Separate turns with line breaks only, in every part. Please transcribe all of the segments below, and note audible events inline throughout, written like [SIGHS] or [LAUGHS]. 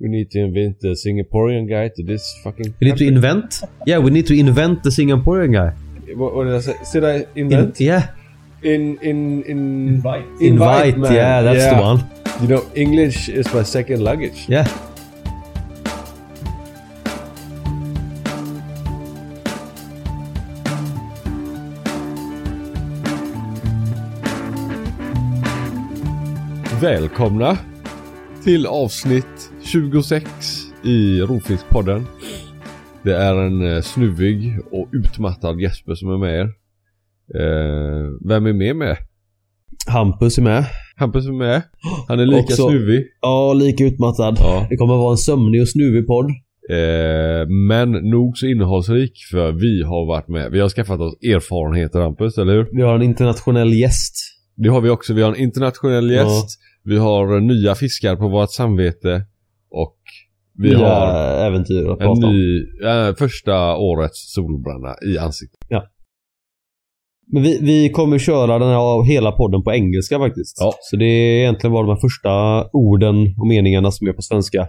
We need to invent the Singaporean guy to this fucking.
We need to
country.
invent. Yeah, we need to invent the Singaporean guy.
What, what did I say? Did I
In,
invent?
yeah,
In in in.
Invite.
invite.
man.
yeah, that's the one.
You know, English is my second luggage.
Yeah.
Välkomna till avsnitt 26 i Rovfiskpodden. Det är en eh, snuvig och utmattad Jesper som är med er. Eh, vem är med med?
Hampus är med.
Hampus är med. Han är lika
Också-
snuvig.
Ja, lika utmattad.
Ja.
Det kommer vara en sömnig och snuvig podd.
Eh, men nog så innehållsrik för vi har varit med. Vi har skaffat oss erfarenheter Hampus, eller hur?
Vi har en internationell gäst.
Det har vi också. Vi har en internationell
Ja.
gäst. Vi har eh, nya fiskar på vårt samvete. Och vi
Nya
har
äventyr att
En
prata om.
ny, eh, första årets solbränna i ansiktet.
Men vi, vi kommer köra den här hela podden på engelska faktiskt.
Ja.
Så det är egentligen bara de här första orden och meningarna som är på svenska.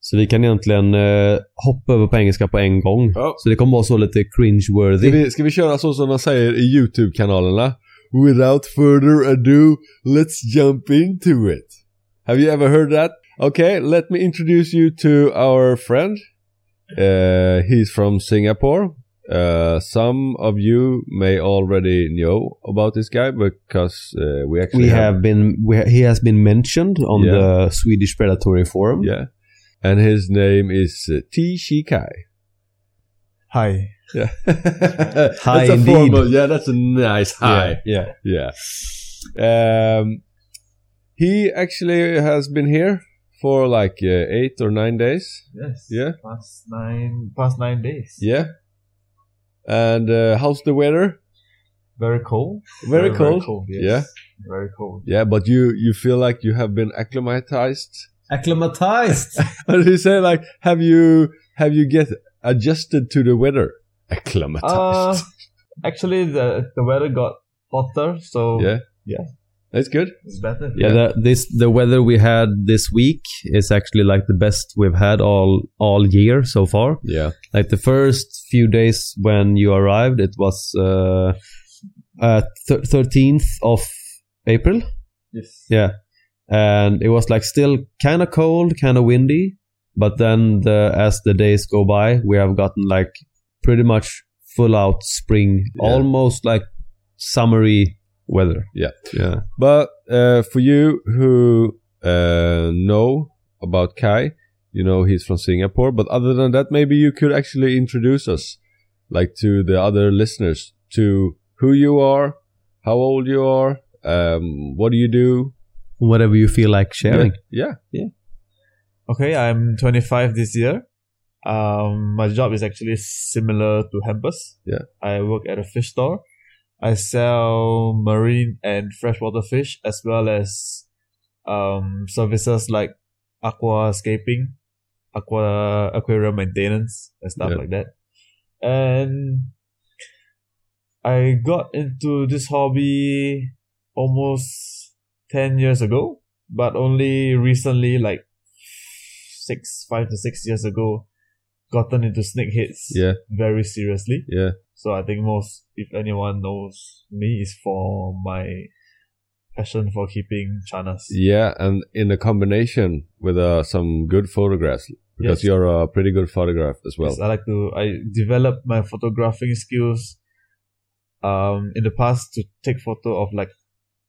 Så vi kan egentligen eh, hoppa över på engelska på en gång.
Ja.
Så det kommer vara så lite
Ska
cringe-worthy.
vi, ska vi köra så som de säger i YouTube-kanalerna? Without further ado, let's jump into it. Have you ever heard that? Okay, let me introduce you to our friend. Uh, he's from Singapore. Uh, some of you may already know about this guy because uh, we actually
We have been, we ha, he has been mentioned on
Yeah.
the Swedish Predatory Forum.
yeah, and his name is uh, T Shikai.
Hi.
Yeah. [LAUGHS] Hi,
indeed.
yeah, that's a nice
Yeah,
high.
yeah.
Yeah. Um, he actually has been here for like uh, eight or nine days.
Yes.
Yeah.
Past nine, past nine days.
Yeah. And uh, how's the weather?
Very cold.
Very, cold.
yes.
Yeah.
Very cold.
Yeah, but you you feel like you have been acclimatized. [LAUGHS]
Acclimatized.
How do you say like have you have you get adjusted to the weather?
[LAUGHS] Uh,
Acclimatized.
actually, the the weather got hotter, so
yeah.
yeah.
That's good.
it's better.
Yeah, the, this the weather we had this week is actually like the best we've had all all year so far.
Yeah.
Like the first few days when you arrived, it was uh, uh, thirteenth of April.
Yes.
Yeah, and it was like still kind of cold, kind of windy, but then the, as the days go by, we have gotten like pretty much full out spring,
Yeah.
almost like summery weather.
Yeah.
yeah.
But uh, for you who uh, know about Kai, you know he's from Singapore. But other than that, maybe you could actually introduce us, like to the other listeners, to who you are, how old you are, um, what do you do?
Whatever you feel like sharing.
Yeah.
Okay, I'm 25 this year. Um, my job is actually similar to Hampus.
Yeah.
I work at a fish store. I sell marine and freshwater fish as well as um, services like aquascaping, aqua aquarium maintenance, and stuff
Yeah.
like that. And I got into this hobby almost 10 years ago, but only recently, like six, five to six years ago, gotten into snakeheads
Yeah.
very seriously.
Yeah.
So I think most, if anyone knows me, is for my passion for keeping chanas.
Yeah, and in a combination with uh, some good photographs, because
Yes.
you're a pretty good photograph as well.
Yes, I like to. I developed my photographing skills, um, in the past to take photo of like,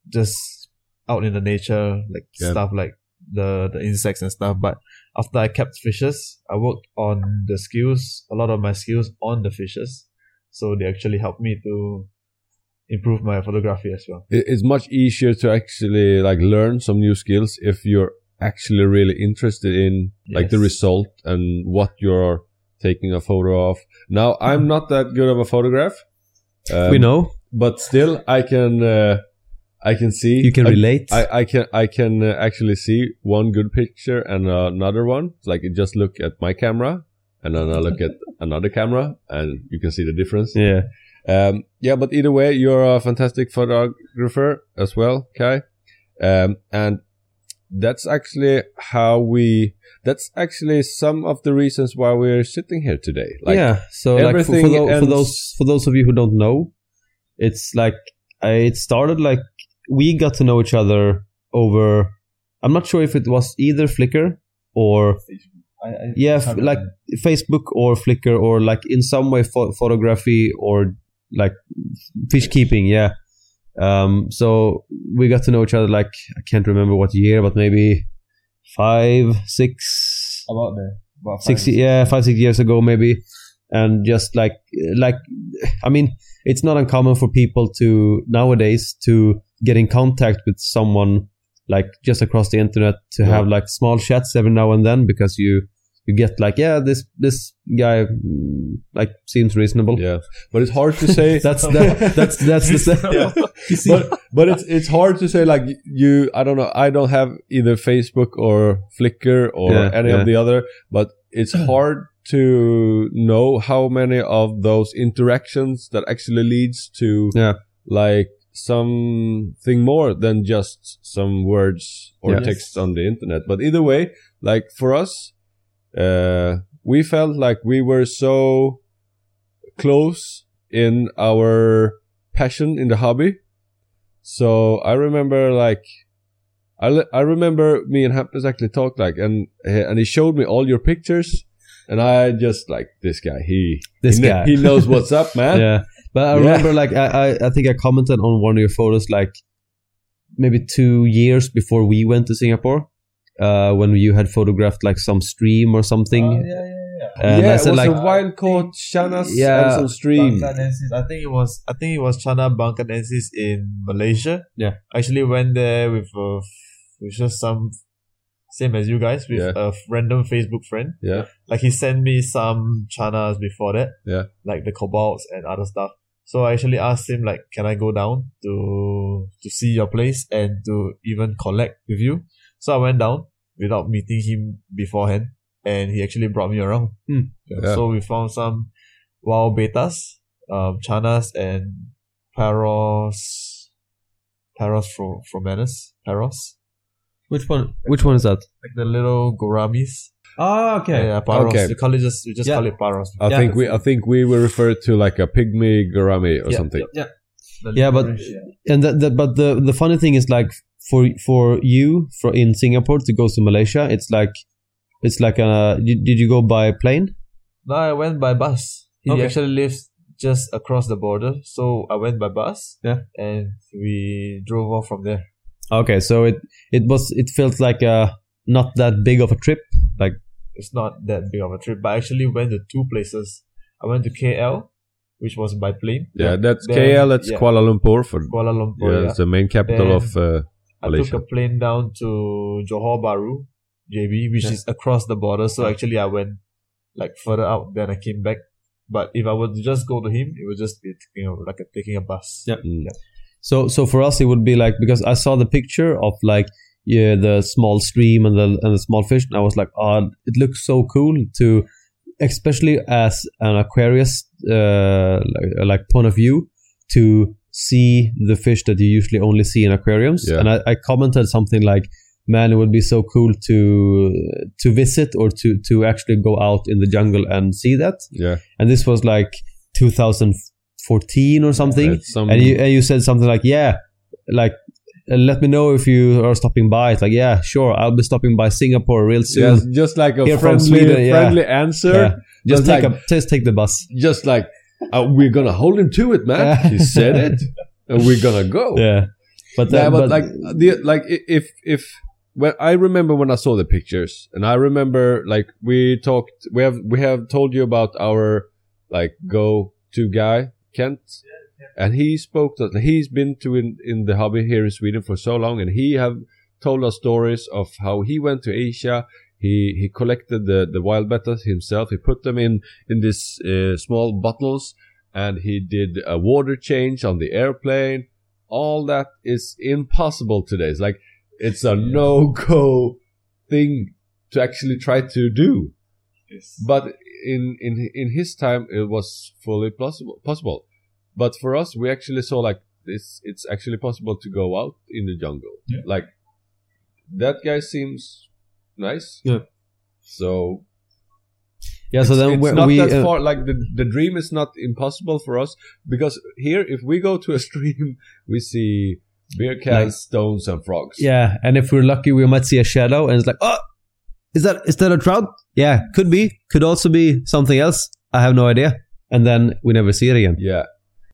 just out in the nature, like
Yeah.
stuff like the the insects and stuff. But after I kept fishes, I worked on the skills. A lot of my skills on the fishes, so they actually helped me to improve my photography as well.
It- It's much easier to actually like learn some new skills if you're actually really interested in like the
Yes.
result and what you're taking a photo of. Now I'm not that good of a photograph, um,
we know
but still I can uh, I can see
you can
I-
relate.
I, I can I can uh, actually see one good picture and another one. Like just look at my camera and then I look at another camera and you can see the difference.
yeah.
Um, yeah, but either way, you're a fantastic photographer as well, Kai. Um, and that's actually how we. That's actually some of the reasons why we're sitting here today. Like,
yeah. So like for, for,
everything
tho- for
ends-
those for those of you who don't know, it's like I, it started like we got to know each other over. I'm not sure if it was either Flickr or
I, I
yeah, f-
can't
like
remember.
Facebook or Flickr or like in some way pho- photography or like fish keeping. Yeah. Um. So we got to know each other like I can't remember what year, but maybe five, six,
about there. About five
six
years.
yeah five six years ago maybe and just like like i mean it's not uncommon for people to nowadays to get in contact with someone like just across the internet to
Yeah.
have like small chats every now and then because you you get like yeah this this guy mm, like seems reasonable
yeah. But it's hard
[LAUGHS]
to say.
that's that, that's that's
[LAUGHS]
the
[LAUGHS]
same
Yeah. but but it's it's hard to say like you I don't know I don't have either Facebook or Flickr or
Yeah,
any
yeah.
of the other but
[CLEARS THROAT]
it's hard to know how many of those interactions that actually leads to
Yeah.
like something more than just some words or
Yeah.
text on the internet but either way like for us uh we felt like we were so close in our passion in the hobby. So I remember like I, le- I remember me and Hampus actually talked like and eh, and he showed me all your pictures and I just like this guy he
[LAUGHS] this
he, kn-
guy
he knows what's
[LAUGHS]
up man
yeah but i
Yeah.
remember like I, I i think i commented on one of your photos like maybe two years before we went to singapore uh when you had photographed like some stream or something
Oh, yeah, yeah, yeah.
and
yeah
i
it
said
was
like
a wild caught shanas
Yeah.
and some stream
Bangkanensis. I think it was I think it was Chana Bangkanensis in Malaysia.
Yeah.
I actually went there with uh, with just some same as you guys with
Yeah.
a f- random Facebook friend.
Yeah.
Like he sent me some Chanas before that.
Yeah.
Like the cobalts and other stuff. So I actually asked him like, can I go down to to see your place and to even collect with you? So I went down without meeting him beforehand, and he actually brought me around.
Hmm.
Yeah.
So we found some wild betas, um, chanas, and paros, paros from from Menace, paros,
which one which one is that
like the little gouramis.
oh
Yeah, yeah, paros.
Okay.
We call it just we just
Yeah. Uh,
call it paros.
I
Yeah.
think we I think we were referred to like a pygmy gourami or
Yeah,
something
The
Yeah, but-
licorice, yeah.
and the, the, but the the funny thing is like for for you for in singapore to go to malaysia it's like it's like a did did you go by plane
No, I went by bus. He
Okay.
actually lives just across the border, so I went by bus.
Yeah.
and we drove off from there.
okay so it it was it felt like a not that big of a trip
It's not that big of a trip, but I actually went to two places. I went to KL, which was by plane.
yeah, that's
Then-
KL that's
yeah.
Kuala Lumpur for
Oh,
Kuala
yeah,
Lumpur. Yeah,
it's the main capital
Then-
of uh,
I
Malaysia.
took a plane down to Johor Bahru, JB, which
Yeah.
is across the border. So actually, I went like further out, then I came back. But if I were to just go to him, it would just be you know, like a, taking a bus.
Yeah.
Mm.
So so for us it would be like because I saw the picture of like yeah the small stream and the and the small fish and I was like oh it looks so cool to especially as an Aquarius uh, like, like point of view to see the fish that you usually only see in aquariums
Yeah.
and I, I commented something like man it would be so cool to to visit or to to actually go out in the jungle and see that
yeah
and this was like 2014 or something
That's some-
and you and you said something like yeah like uh, let me know if you are stopping by it's like yeah sure i'll be stopping by singapore real soon
Yeah, just like a
Here from
friendly,
Sweden, yeah.
friendly answer.
Yeah. just
Just
take
like-
a just take the bus
Just like uh, we're gonna hold him to it, man.
Yeah.
he said it,
[LAUGHS]
and we're gonna go.
yeah but then
Oh. yeah, but,
but,
like the like i- if if when I remember when I saw the pictures, and I remember like we talked, we have we have told you about our like go to guy Kent, and he spoke that he's been to in in the hobby here in Sweden for so long, and he have told us stories of how he went to Asia. He he collected the the wild bettas himself. He put them in in these uh, small bottles, and he did a water change on the airplane. All that is impossible today. It's like it's a no go thing to actually try to do.
Yes.
But in in in his time, it was fully possible. Possible, but for us, we actually saw like this. It's actually possible to go out in the jungle.
Yeah.
Like that guy seems nice.
Yeah.
So
Yeah, so
it's-
then
it's
we,
not
we
that
uh,
far. Like the the dream is not impossible for us because here, if we go to a [LAUGHS] stream, we see beer cans, stones, and frogs.
yeah, and if we're lucky, we might see a shadow, and it's like, oh, is that is that a trout? Yeah, could be, could also be something else. I have no idea. And then we never see it again.
Yeah.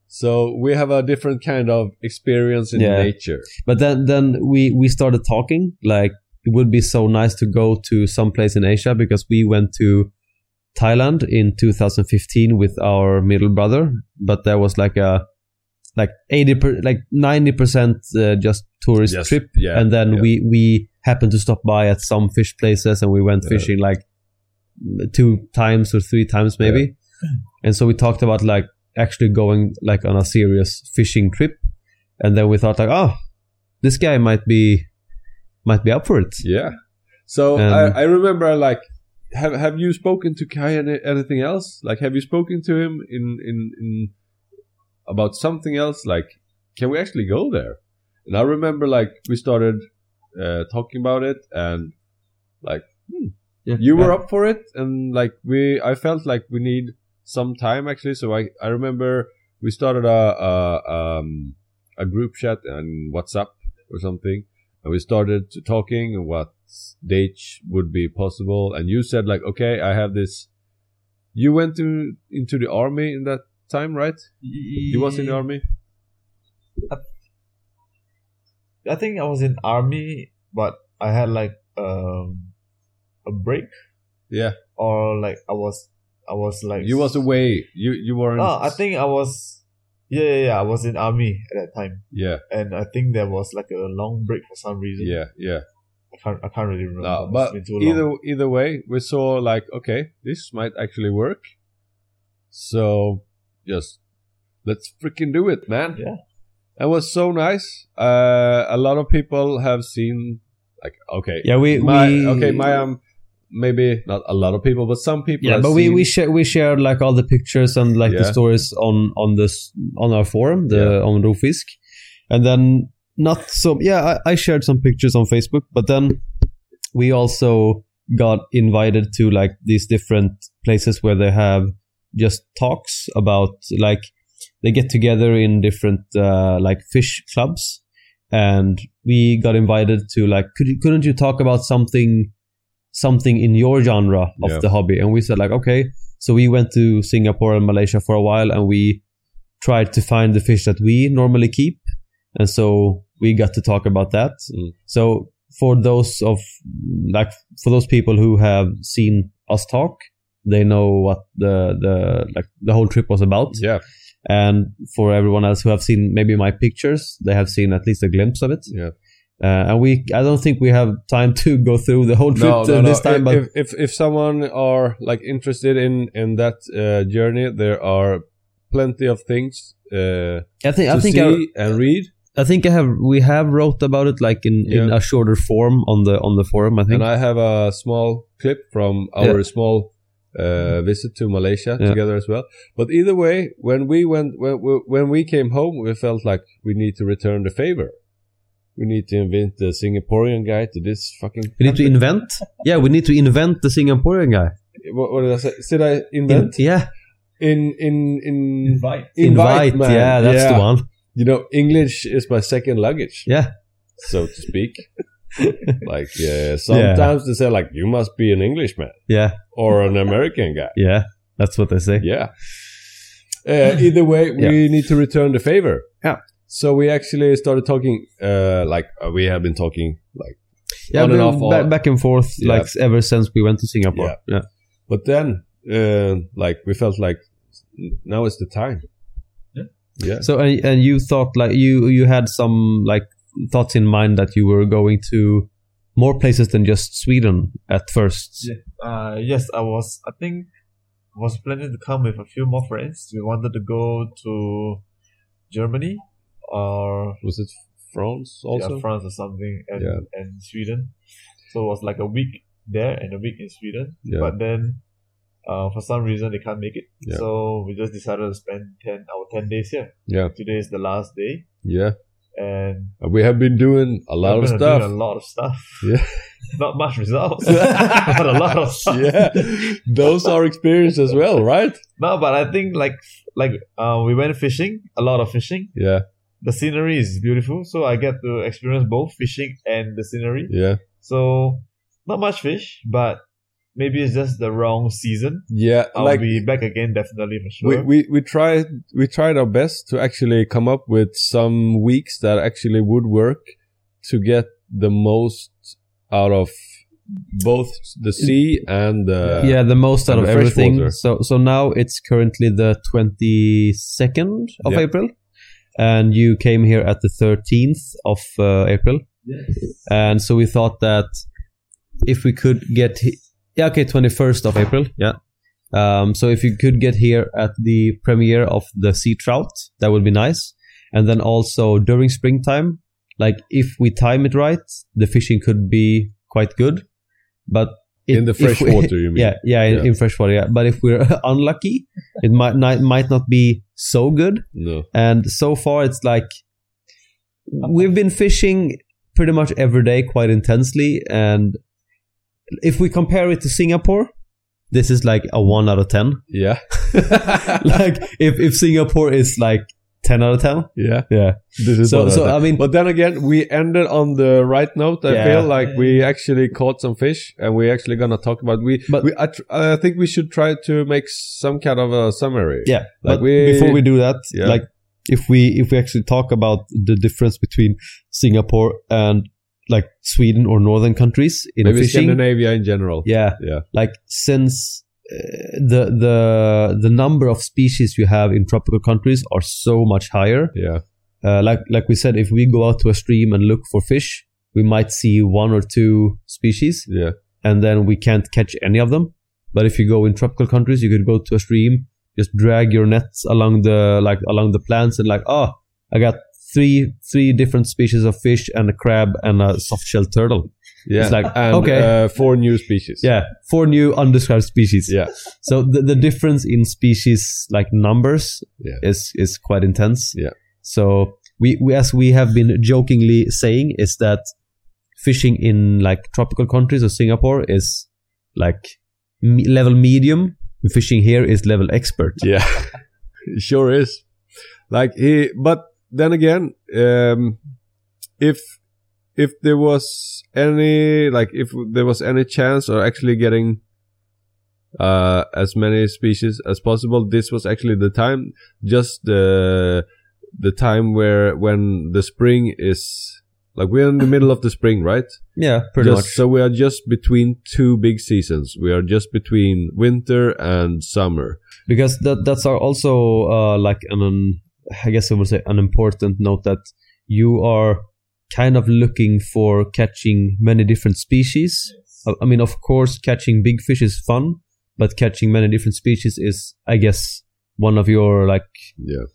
So we have a different kind of experience in
Yeah.
nature.
But then then we we started talking like it would be so nice to go to some place in Asia because we went to Thailand in 2015 with our middle brother, but there was like a like 80 per, like 90 percent uh, just tourist
Yes,
trip,
yeah,
and then
yeah.
we we happened to stop by at some fish places and we went
Yeah.
fishing like two times or three times maybe, and so we talked about like actually going like on a serious fishing trip and then we thought like oh this guy might be might be up for it
Yeah. So
Um,
I, I remember like have have you spoken to Kai any, anything else? Like have you spoken to him in in in about something else? Like can we actually go there? And I remember like we started uh, talking about it and like hmm, you were up for it and like we I felt like we need some time actually. So I I remember we started a a, um, a group chat and WhatsApp or something and we started to talking and what dates would be possible and you said like okay i have this you went to into the army in that time right you was in the army
I think I was in army, but I had like um a break
yeah
or like I was I was like
you was away you you weren't
No, Ah, I think I was yeah, yeah, yeah, I was in army at that time,
yeah
and I think there was like a long break for some reason.
yeah yeah
I can't, I can't really remember.
no,
It's
but
been too long.
either either way we saw like okay this might actually work so just let's freaking do it man
Yeah.
it was so nice uh a lot of people have seen like okay
yeah we,
my,
we
okay, my um, maybe not a lot of people, but some people.
yeah
have
but we
seen-
we, share, we shared like all the pictures and like the
Yeah.
stories on on this on our forum the on Rofisk and then not so yeah I, I shared some pictures on Facebook but then we also got invited to like these different places where they have just talks about like they get together in different uh, like fish clubs and we got invited to like could you, couldn't you talk about something something in your genre of
Yeah.
the hobby and we said like okay so we went to singapore and malaysia for a while and we tried to find the fish that we normally keep and so we got to talk about that
Mm.
so for those of like for those people who have seen us talk they know what the the like the whole trip was about
Yeah,
and for everyone else who have seen maybe my pictures they have seen at least a glimpse of it
yeah.
uh, and we i don't think we have time to go through the whole trip
No,
uh,
no, no.
this time but
if, if if someone are like interested in in that uh, journey, there are plenty of things uh,
i think
to
i think I,
see and read.
I think i have we have wrote about it like in in
Yeah.
a shorter form on the on the forum i think
And I have a small clip from our small uh, visit to Malaysia
Yeah.
together as well. But either way, when we went when we- when we came home, we felt like we need to return the favor. We need to invite the Singaporean guy to this fucking.
we need to invent yeah we need to invent the singaporean guy
What, what did I say? Should I invent?
In- yeah
in in in
invite.
invite,
man.
yeah that's the one
You know, English is my second luggage,
yeah
so to
[LAUGHS]
speak. like yeah, sometimes they say like you must be an Englishman
yeah
or an American guy.
yeah that's what they say
Yeah.
[LAUGHS]
Uh, either way, we need to return the favor.
Yeah.
So we actually started talking. Uh, like uh, we have been talking. Like,
yeah
On
we-
and off, all-
ba- back and forth
Yeah.
like ever since we went to singapore
Yeah.
yeah.
but then, uh, like we felt like now is the time.
Yeah.
Yeah.
So and, and you thought like you you had some like thoughts in mind that you were going to more places than just Sweden at first.
Yeah. Uh, yes, I was. I think I was planning to come with a few more friends. We wanted to go to Germany or
Was it France
yeah,
also?
France or something, and
Yeah.
and Sweden. So it was like a week there and a week in Sweden.
Yeah.
But then, uh, for some reason they can't make it.
Yeah.
So we just decided to spend ten our ten days here.
Yeah.
Today is the last day,
Yeah.
and
We have been doing a lot
I've
of
been
stuff.
Doing a lot of stuff.
Yeah.
[LAUGHS] Not much
[LAUGHS]
results, [LAUGHS] but a lot of stuff.
yeah, those are experience as well, right?
No, but I think like like uh, we went fishing, a lot of fishing.
Yeah,
The scenery is beautiful, so I get to experience both fishing and the scenery.
yeah,
So not much fish, but maybe it's just the wrong season.
yeah.
I'll
like
be back again definitely for sure.
we, we we tried we tried our best to actually come up with some weeks that actually would work to get the most out of both the sea and the
yeah, the most out
and
of
fresh
everything.
water.
So so now it's currently the twenty second of
Yeah.
April, and you came here at the thirteenth of uh, April, and so we thought that if we could get he- yeah okay twenty first of April yeah. Um, so if you could get here at the premiere of the sea trout, that would be nice. And then also during springtime, like if we time it right, the fishing could be quite good. But it-
in the
if we-
fresh water. You mean?
[LAUGHS] yeah, yeah, in,
Yeah.
in freshwater. Yeah, but if we're [LAUGHS] unlucky, it might not, might not be so good.
No.
And so far, it's like we've been fishing pretty much every day, quite intensely. And if we compare it to Singapore, this is like a one out of ten.
[LAUGHS]
[LAUGHS]
Yeah.
like if if Singapore is like ten out of ten,
Yeah.
yeah.
This is
So
what I
so
thought.
I mean,
but then again, we ended on the right note. I
Yeah.
feel like we actually caught some fish, and we're actually gonna talk about we.
But-
we I, tr- I think we should try to make some kind of a summary.
Yeah,
Like
but
we-
before we do that,
Yeah.
like if we if we actually talk about the difference between Singapore and like Sweden or northern countries in
Maybe
fishing,
Scandinavia in general.
yeah,
Yeah.
like since uh, the the the number of species you have in tropical countries are so much higher.
Yeah.
Uh, like like we said, if we go out to a stream and look for fish, we might see one or two species
Yeah.
and then we can't catch any of them. But if you go in tropical countries, you could go to a stream, just drag your nets along the like along the plants, and like, oh, I got three three different species of fish and a crab and a soft shell turtle.
Yeah.
It's like,
and,
okay.
Uh, four new species.
Yeah, four new undescribed species.
Yeah.
So the, the difference in species like numbers
Yeah.
is is quite intense.
Yeah.
So we, we as we have been jokingly saying is that fishing in like tropical countries or Singapore is like me- level medium. Fishing here is level expert.
Yeah. It sure is. Like he but then again, um if if there was any like if there was any chance of actually getting uh as many species as possible, this was actually the time just the the time where when the spring is like we're in the middle of the spring, right?
Yeah, pretty
Just-
much.
So we are just between two big seasons. We are just between winter and summer.
because that that's our- also uh, like an, an I guess I would say an important note that you are kind of looking for catching many different species. Uh, I- I mean, of course, catching big fish is fun, but catching many different species is, I guess, one of your like
Yeah.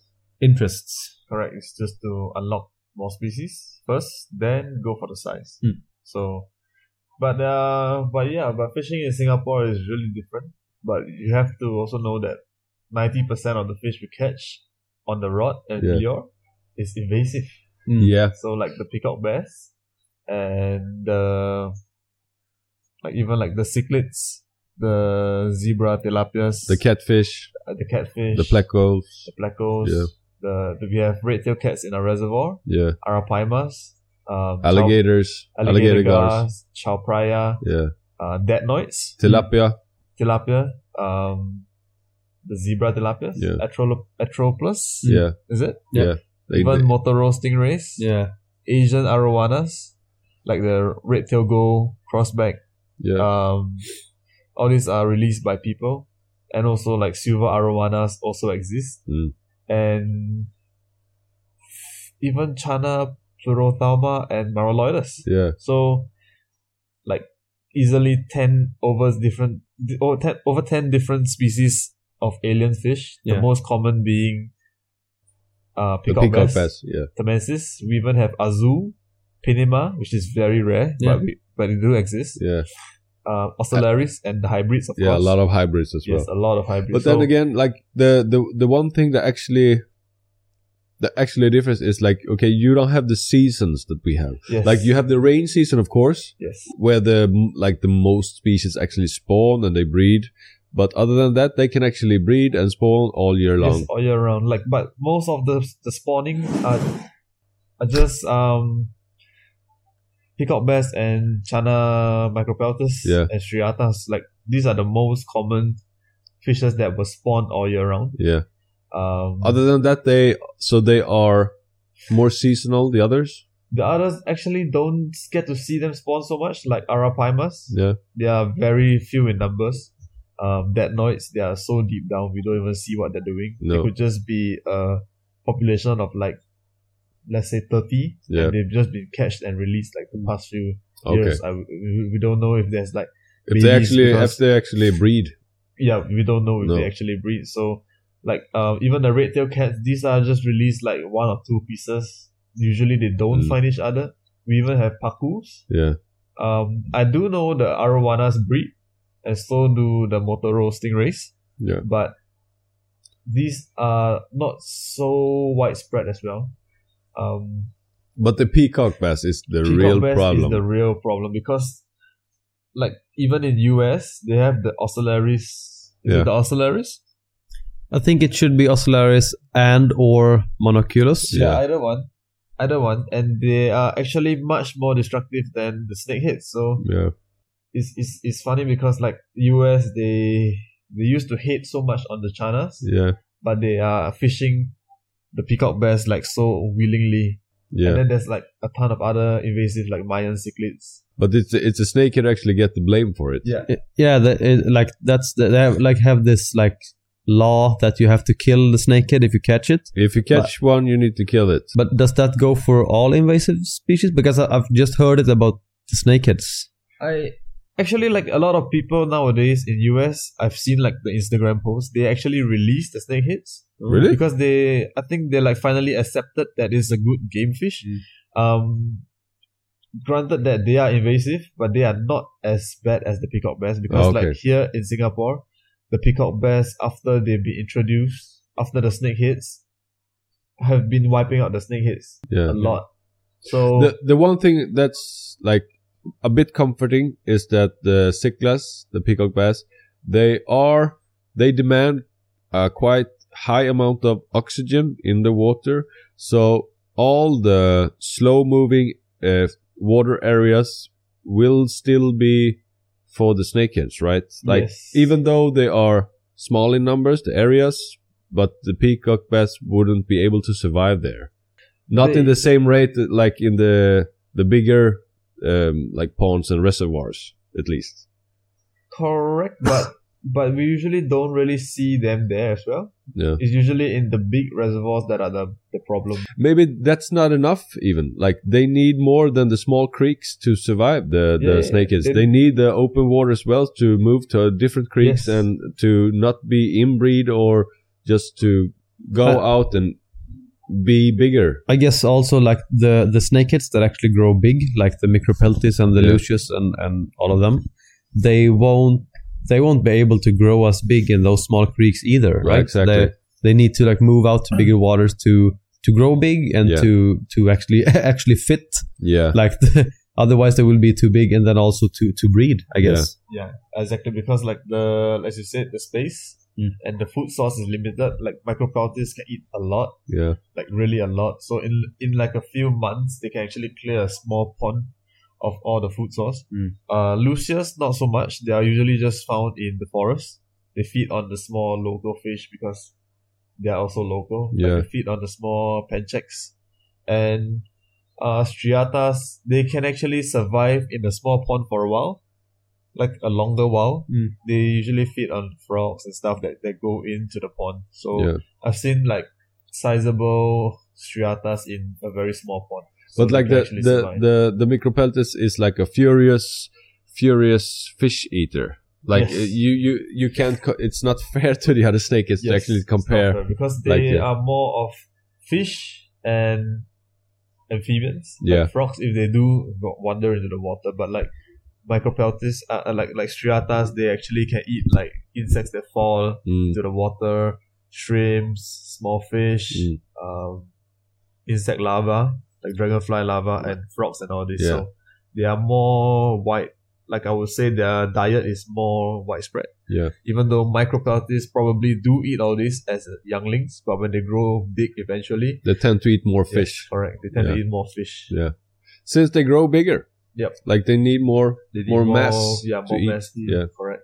interests.
Correct. It's just to unlock more species first, then go for the size.
Hmm.
So, but uh, but yeah, but fishing in Singapore is really different. But you have to also know that ninety percent of the fish we catch on the rod and
Yeah.
lure is invasive.
Mm.
Yeah.
So like the peacock bass and the like even like the cichlids, the zebra tilapias,
The catfish,
uh, the catfish,
the black goals.
the blackos,
Yeah.
the, the we have red tail cats in our reservoir,
Yeah.
arapaimas, um, chow-
Alligators.
alligator,
Alligator gars.
gars, chowphraya,
Yeah.
uh, detnoids,
Tilapia.
tilapia, um, the zebra tilapias,
Yeah.
atrolo- atroplus,
Yeah.
is it?
Yeah.
They-
Even
they-
Motoro stingrays,
Yeah,
Asian arowanas, like the red tail gull, crossback,
yeah.
um, all these are released by people, and also like silver arowanas also exist,
Mm.
and even Chana pleurothalma and maroloidus.
yeah.
So, like easily ten over different di- over ten, over ten different species of alien fish.
Yeah.
The most common being uh,
The
peacock,
peacock
bass,
bass. Yeah.
tamensis. We even have azul, pinema, which is very rare,
Yeah.
but we, but it do exist
Yeah.
uh, Ocellaris and the hybrids, of
Yeah.
course.
A lot of hybrids as well.
yes, a lot of hybrids.
But then
So,
again, like the, the the one thing that actually the actually difference is like okay, you don't have the seasons that we have.
Yes.
Like you have the rain season, of course,
Yes.
where the like the most species actually spawn and they breed. But other than that, they can actually breed and spawn all year long.
Yes, all year round. Like, but most of the the spawning are, are just um, peacock bass and Chana micropeltis
Yeah.
and striatas. Like these are the most common fishes that were spawned all year round.
Yeah.
Um,
Other than that, they so they are more seasonal. The others,
the others actually don't get to see them spawn so much. Like arapaimas,
yeah,
they are very few in numbers. Um, noise they are so deep down, we don't even see what they're doing.
No.
It could just be a population of like, let's say 30,
Yeah.
and they've just been catched and released like the past few
okay.
years. I, we, we don't know if there's like,
If they
Babies
actually if
because-
they actually breed,
yeah, we don't know if
No.
they actually breed. So, like, um, even the red tail cats, these are just released like one or two pieces. Usually they don't
Mm.
find each other. We even have pakus,
yeah,
Um, I do know the arowanas breed, and so do the Motoro stingrays.
Yeah.
But these are not so widespread as well. Um,
but the peacock bass is the
peacock
real
bass
problem.
is the real problem because, like, even in US, they have the oscillaries. Is
Yeah.
it the oscillaries?
I think it should be Oscillaris and or Monoculus.
Yeah.
either one. Either one, and they are actually much more destructive than the snakeheads. So
yeah,
it's, it's, it's funny because like US they they used to hate so much on the Chanas,
yeah,
but they are fishing the peacock bears like so willingly. And
yeah.
then there's like a ton of other invasive like Mayan cichlids.
But it's it's a snake that actually get the blame for it.
Yeah.
I- yeah the, it, like that's the, they have, like have this like law that you have to kill the snakehead if you catch it
If you catch one, you need to kill it.
but does that go for all invasive species because I, i've just heard it about the snakeheads
I actually like a lot of people nowadays in US. I've seen like the Instagram posts. They actually release the snakeheads.
Oh, Really?
Because they, I think they like finally accepted that it's a good game fish.
Mm.
Um, granted that they are invasive, but they are not as bad as the peacock bass because
Oh, Okay.
like here in Singapore, the peacock bass after they've been introduced after the snakeheads have been wiping out the snakeheads
Yeah.
a lot. So
The the one thing that's like a bit comforting is that the cichlids, the peacock bass, they are they demand a quite high amount of oxygen in the water. So all the slow moving uh, water areas will still be for the snakeheads, right? Like
yes.
even though they are small in numbers, the areas, but the peacock bass wouldn't be able to survive there. Not in
They-
the same rate that, like in the the bigger um, like ponds and reservoirs, at least.
correct, but but we usually don't really see them there as well.
Yeah,
It's usually in the big reservoirs that are the, the problem.
maybe that's not enough. Even like they need more than the small creeks to survive the
Yeah,
the
yeah,
snakeheads.
they-
They, need the open water as well to move to different creeks
Yes.
and to not be inbreed or just to go
Uh,
out and be bigger.
i guess also like the the snakeheads that actually grow big like the micropeltis and the
Yeah.
lucius and and all of them they won't they won't be able to grow as big in those small creeks either
Yeah,
right
exactly.
they, they need to like move out to bigger waters to to grow big and
Yeah.
to to actually [LAUGHS] actually fit
Yeah.
like the, otherwise they will be too big and then also to to breed i
Yeah.
guess
Exactly because like the as you said, the space
Mm.
and the food source is limited. Like micropeltis can eat a lot,
Yeah.
like really a lot. So in in like a few months they can actually clear a small pond of all the food source.
Mm.
Uh Lucius not so much. They are usually just found in the forest. They feed on the small local fish because they are also local. Like,
Yeah.
they feed on the small pancheks. And uh striatas they can actually survive in a small pond for a while. Like a longer while.
Mm.
They usually feed on frogs and stuff that, that go into the pond. So
Yeah.
I've seen like sizable striatas in a very small pond. So
but
they
like
can
the
actually
the,
survive.
the the micropeltis is like a furious furious fish eater like
Yes.
uh, you you you can't co- it's not [LAUGHS] fair to the other snake it's to
Yes,
actually
it's not
compare
fair because they
like, yeah.
are more of fish and amphibians. Like
Yeah.
frogs if they do wa- wander into the water, but like micropeltis, uh, uh, like like striatas, they actually can eat like insects that fall
Mm,
into the water, shrimps, small fish,
Mm.
um, insect larvae, like dragonfly larvae and frogs and all this.
Yeah.
So they are more wide. Like I would say, their diet is more widespread.
Yeah.
Even though microplastids probably do eat all this as younglings, but when they grow big eventually,
They tend to eat more
yes,
fish
correct. They tend to
Yeah.
eat more fish.
Yeah. since they grow bigger.
Yep.
Like they need more.
They need
More mass
Yeah,
to
more
eat.
mass. mm,
Yeah.
Correct.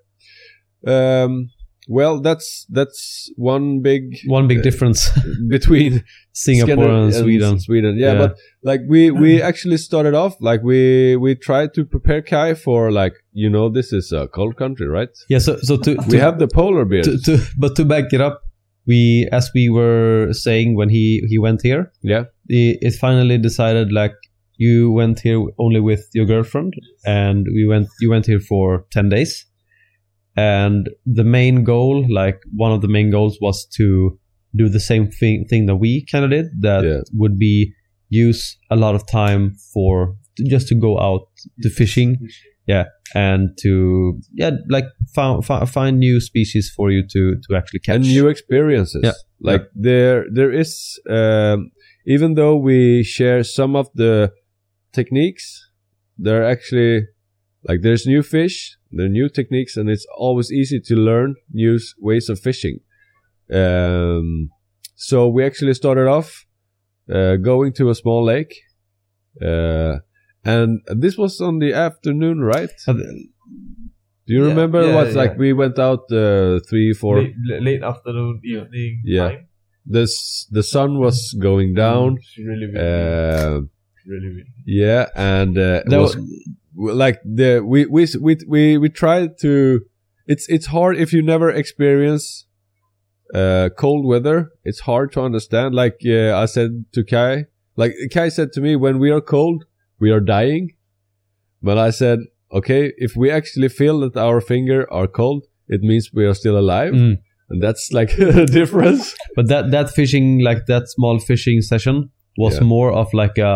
Um, well, that's that's one big
[LAUGHS]
One big
Yeah.
difference [LAUGHS]
between
Singapore
Scandin-
and Sweden.
Sweden, yeah,
Yeah.
But like we
[CLEARS THROAT]
we actually started off like we we tried to prepare Kai for like you know this is a cold country, right?
Yeah, so so to,
We
to-
have the polar bears.
to, to but to back it up, we as we were saying when he he went here,
Yeah.
the, it finally decided like you went here only with your girlfriend, and we went you went here for ten days, and the main goal, like one of the main goals, was to do the same thing thing that we kind of did. That
Yeah.
would be use a lot of time for just to go out to fishing and to yeah like find find new species for you to to actually catch
and new experiences.
Yeah.
Like there there is um, even though we share some of the techniques, there are actually like there's new fish, there are new techniques, and it's always easy to learn new s- ways of fishing. Um, so we actually started off uh, going to a small lake. Uh, and this was on the afternoon, right?
Uh,
Do you
Yeah,
remember
yeah,
what? Like
yeah.
we went out uh, three, four,
late, la- late afternoon, evening
Yeah.
time.
this the sun was going down
It's really windy.
uh,
really windy.
yeah and uh, it
That
was, like the we we we we we tried to it's it's hard if you never experience uh cold weather it's hard to understand like uh, i said to kai like kai said to me when we are cold we are dying but i said okay if we actually feel that our finger are cold it means we are still alive
Mm.
and that's like [LAUGHS] the difference
but that that fishing like that small fishing session was
Yeah.
more of like a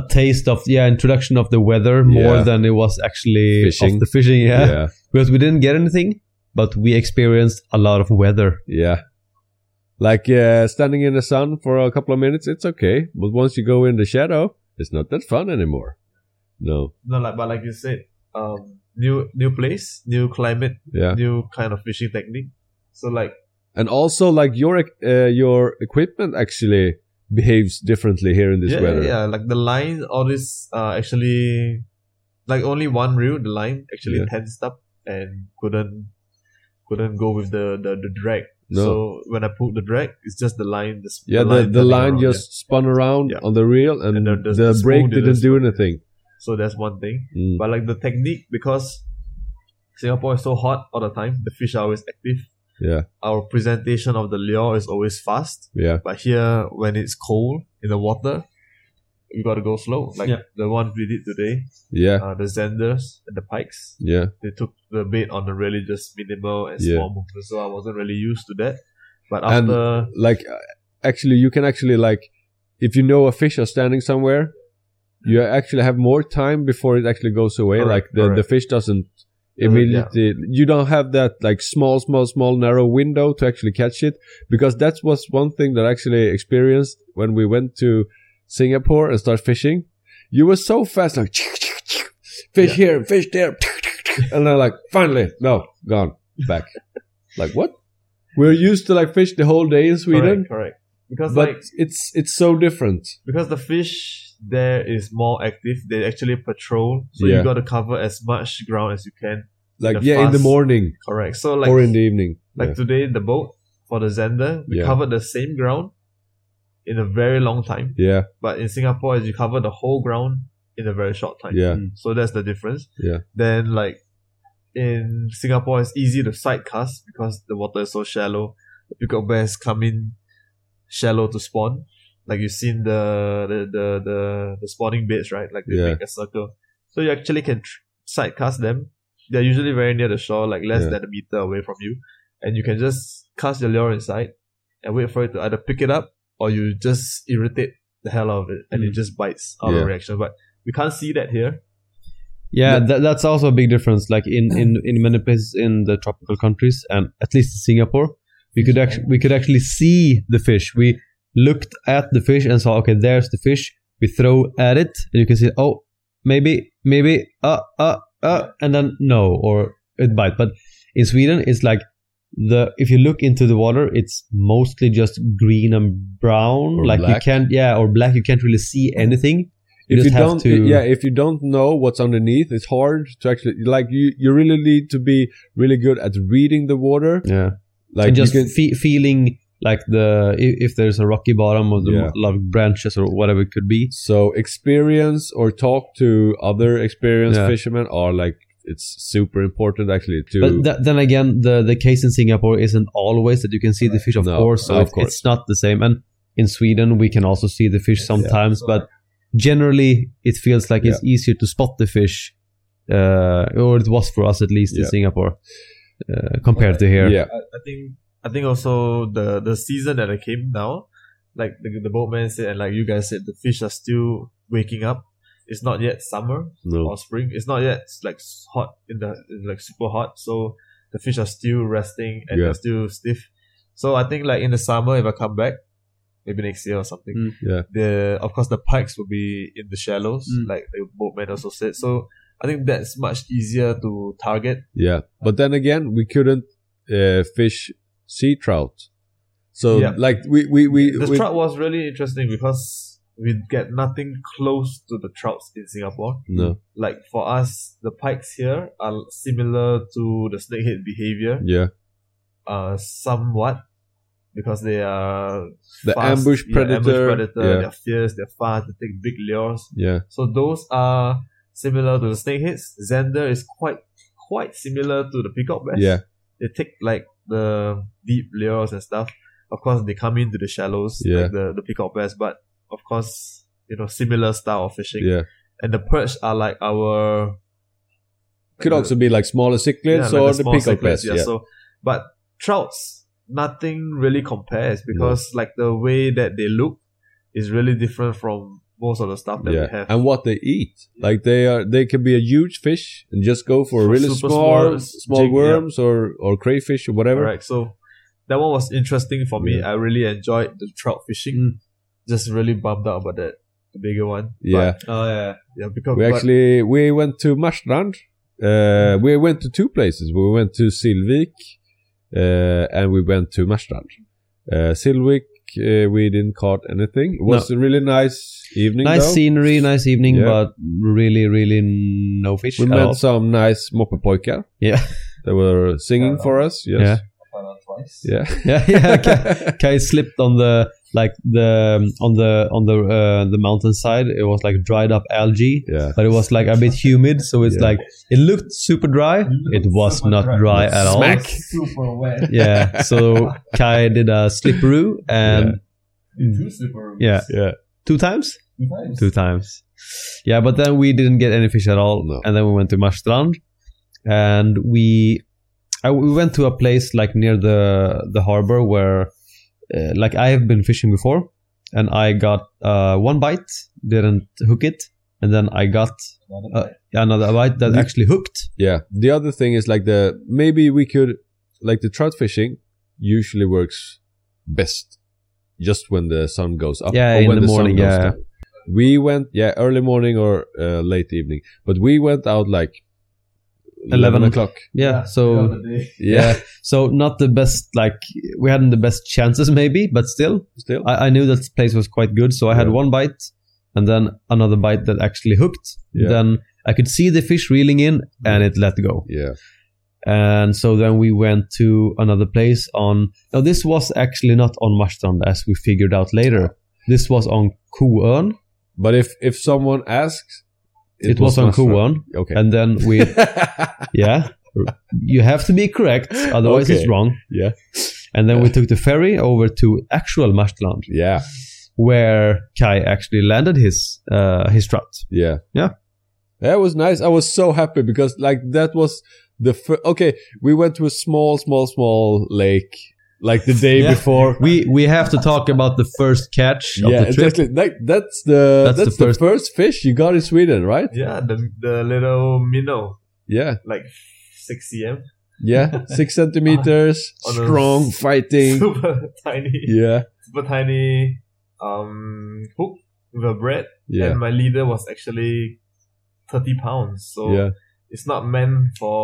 a taste of yeah introduction of the weather more
Yeah.
than it was actually
Fishing.
of the fishing yeah.
yeah,
because we didn't get anything but we experienced a lot of weather
Yeah. Like uh, standing in the sun for a couple of minutes, it's okay. But once you go in the shadow, it's not that fun anymore. No.
No, like but like you said, um, new new place, new climate,
Yeah.
new kind of fishing technique. So like
And also, like your ec- uh, your equipment actually behaves differently here in this
yeah,
weather.
yeah, like the line, all this uh actually, like only one reel, the line actually
Yeah.
tensed up and couldn't couldn't go with the the, the drag.
No.
So when I pulled the drag, it's just the line. The, sp-
Yeah, the, the
turning
line
around,
just spun around
Yeah.
on the reel, and,
And the-
the,
the- the
brake
spoon didn't
didn't do
spin.
anything.
yeah. So that's one thing.
Mm.
But like the technique, because Singapore is so hot all the time, the fish are always active.
Yeah.
Our presentation of the lure is always fast.
Yeah,
But here, when it's cold in the water, you gotta go slow. Like
Yeah.
the one we did today,
yeah,
uh, the Zenders and the Pikes,
yeah.
they took the bait on a really just minimal and
Yeah.
small movement, so I wasn't really used to that. But
And-
after,
Like, uh, actually, you can actually like, if you know a fish are standing somewhere, you actually have more time before it actually goes away.
Correct,
like the, the
correct.
fish doesn't immediately. You don't have that like small, small, small narrow window to actually catch it because that was one thing that I actually experienced when we went to Singapore and start fishing. You were so fast, like fish
Yeah.
here, fish there, [LAUGHS] and then like finally, no, gone back. like what? We're used to like fish the whole day in Sweden,
correct, correct. Because
but
like
it's it's so different.
because the fish there is more active, they actually patrol, so
Yeah.
you gotta cover as much ground as you can.
Like
The
yeah, in the
fast-
morning
Correct. So like
or in the evening.
Like
Yeah.
today, the boat for the Zender, we
Yeah.
covered the same ground in a very long time.
yeah.
But in Singapore, you cover the whole ground in a very short time.
Yeah.
Mm.
So that's the difference.
Yeah.
Then like in Singapore, it's easy to side cast because the water is so shallow. The pickup bears come in shallow to spawn. Like you've seen the the the the, the spawning beds, right? Like they
Yeah.
make a circle. So you actually can tr- side cast them. They're usually very near the shore, like less
Yeah.
than a meter away from you, and you can just cast your lure inside and wait for it to either pick it up or you just irritate the hell out of it and it just bites out
Hmm. Yeah.
of reaction. But we can't see that here.
Yeah, tha- that's also a big difference. Like in, in, in many places in the tropical countries, and at least in Singapore, we could actually we could actually see the fish. We looked at the fish and saw, okay, there's the fish. We throw at it, and you can see, oh, maybe, maybe, uh, uh, uh, and then no, or it bite. But in Sweden, it's like the if you look into the water, it's mostly just green and brown.
Or
like you
black.
can't, yeah, or black. You can't really see anything. You
if
just
you
have
don't,
to-
yeah, if you don't know what's underneath, it's hard to actually like you. You really need to be really good at reading the water.
Yeah,
Like
and just
you can,
fe- feeling like the if, if there's a rocky bottom or the
Yeah.
a lot of branches or whatever it could be.
so experience or talk to other experienced
Yeah.
fishermen are like it's super important actually to.
But th- then again, the the case in Singapore isn't always that you can see the fish, of
No,
course. So
of
it- it's not the same. And in Sweden, we can also see the fish sometimes, but generally, it feels like it's easier to spot the fish, uh, or it was for us at least in
Yeah.
Singapore uh, compared to here.
yeah,
I, I think I think also the the season that I came now, like the, the boatman said and like you guys said, the fish are still waking up. It's not yet summer
no,
or spring. It's not yet like s- hot in the in, like super hot. So the fish are still resting and
Yeah.
they're still stiff. So I think like in the summer, if I come back, maybe next year or something,
Mm.
Yeah.
the of course the pikes will be in the shallows,
Mm.
like the boatman also said. So I think that's much easier to target.
yeah. But then again, we couldn't uh, fish sea trout. So
Yeah.
like we we we,
the
we
trout was really interesting because we get nothing close to the trouts in Singapore.
no
Like for us, the pikes here are similar to the snakehead behavior,
yeah
uh, somewhat, because they are
The ambush
yeah,
predator,
ambush predator.
yeah.
They're fierce. They're fast. They take big lures.
yeah
So those are similar to the snakeheads. Xander is quite quite similar to the peacock bass.
yeah
They take like the deep lures and stuff. Of course, they come into the shallows,
Yeah.
like the the peacock bass. But of course, you know similar style of fishing.
yeah.
And the perch are like our
Could
the-
also be like smaller cichlids
Uh, like
or the,
small
peacock
cichlids,
bass. Yeah.
So, but trouts, nothing really compares because like the way that they look is really different from most of the stuff that we
yeah,
have.
and what they eat, like they are, they can be a huge fish and just go for a
For
really
super
small,
small
small
jig, yeah.
worms or or crayfish or whatever.
Alright, so that one was interesting for me.
Yeah.
I really enjoyed the trout fishing. Just really bummed out about that the bigger one.
Yeah,
Oh yeah.
But, uh, yeah, because
we
but-
actually we went to Marstrand. Uh, we went to two places. We went to Silvik, uh, and we went to Marstrand. Uh, Silvik, uh, we didn't caught anything. It was a really nice evening.
Nice
though.
scenery, nice evening,
Yeah.
but really, really no fish
We
at all.
met some nice moppepojkar.
Yeah.
they were singing for us. Yes. Yeah.
[LAUGHS] yeah, yeah. Kai, Kai slipped on the like the um, on the on the uh, the mountainside. It was like dried up algae,
Yeah.
but it was like a bit humid, so it's
Yeah.
like it looked super dry. It was not dry at all. Mm.
Smack.
Super wet.
Yeah. So Kai did a slipperoo and
Two super
yeah,
Yeah.
two times, two times. Yeah, but then we didn't get any fish at all,
No.
and then we went to Marstrand, and we I, we went to a place like near the the harbor where uh, like I have been fishing before, and I got uh, one bite, didn't hook it, and then I got uh, another bite that
You-
actually hooked.
Yeah. The other thing is like the maybe we could like the trout fishing usually works best just when the sun goes up.
Yeah,
or
in
when
the morning,
Sun goes
yeah.
down. We went yeah early morning or uh, late evening, but we went out like
11
o'clock.
Yeah, so
Yeah,
so not the best like we hadn't the best chances maybe, but still
[LAUGHS] still.
I, I knew that place was quite good, so I had
Yeah.
one bite and then another bite that actually hooked.
Yeah. Mm.
Then I could see the fish reeling in and it let go.
yeah,
And so then we went to another place on. Now, this was actually not on Marstrand as we figured out later. This was on Kuön.
but if if someone asks,
It, was, on
Marstrand.
Kuön.
Okay.
And then
[LAUGHS]
we, yeah, you have to be correct, otherwise
Okay.
it's wrong.
Yeah.
And then we took the ferry over to actual Marstrand,
yeah,
where Kai actually landed his uh, his trout.
Yeah.
Yeah.
That was nice. I was so happy because like that was the fir- okay, we went to a small small small lake like the day
[LAUGHS] Yeah.
before.
We we have to talk about the first catch of
yeah,
the trip.
exactly. Like that's the that's,
That's
the,
the first-
first. fish you got in Sweden, right?
Yeah, the, the little minnow,
Yeah.
like 6 cm.
[LAUGHS]
Yeah. 6 centimeters,
On a-
strong fighting.
[LAUGHS] Super tiny.
Yeah.
super tiny um hook with a bread,
Yeah.
and my leader was actually thirty pounds. So
yeah.
it's not meant for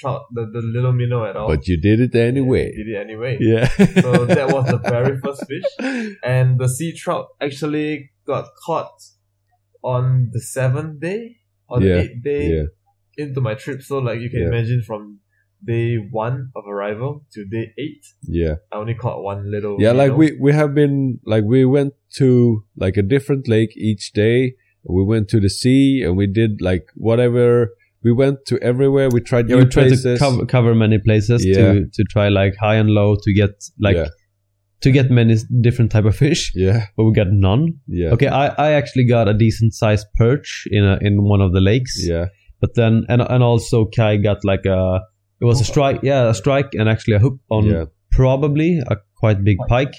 trout, the, the little minnow at all.
But you did it anyway.
did it anyway.
Yeah. [LAUGHS]
So that was the very first fish. and the sea trout actually got caught on the seventh day or
Yeah,
the eighth day
yeah.
into my trip. So like you can
Yeah.
imagine from day one of arrival to day eight,
Yeah.
I only caught one little.
Yeah, like
minnow.
we we have been like we went to like a different lake each day. We went to the sea and we did like whatever. We went to everywhere. We tried
Yeah,
new
we tried to
places.
cover, cover many places
Yeah.
to to try like high and low to get like
Yeah.
to get many s- different type of fish,
Yeah,
but we got none.
yeah,
Okay, I, I actually got a decent sized perch in a, in one of the lakes,
yeah,
but then and and also Kai got like a it was a strike, yeah, a strike and actually a hook on
yeah.
probably a quite big pike,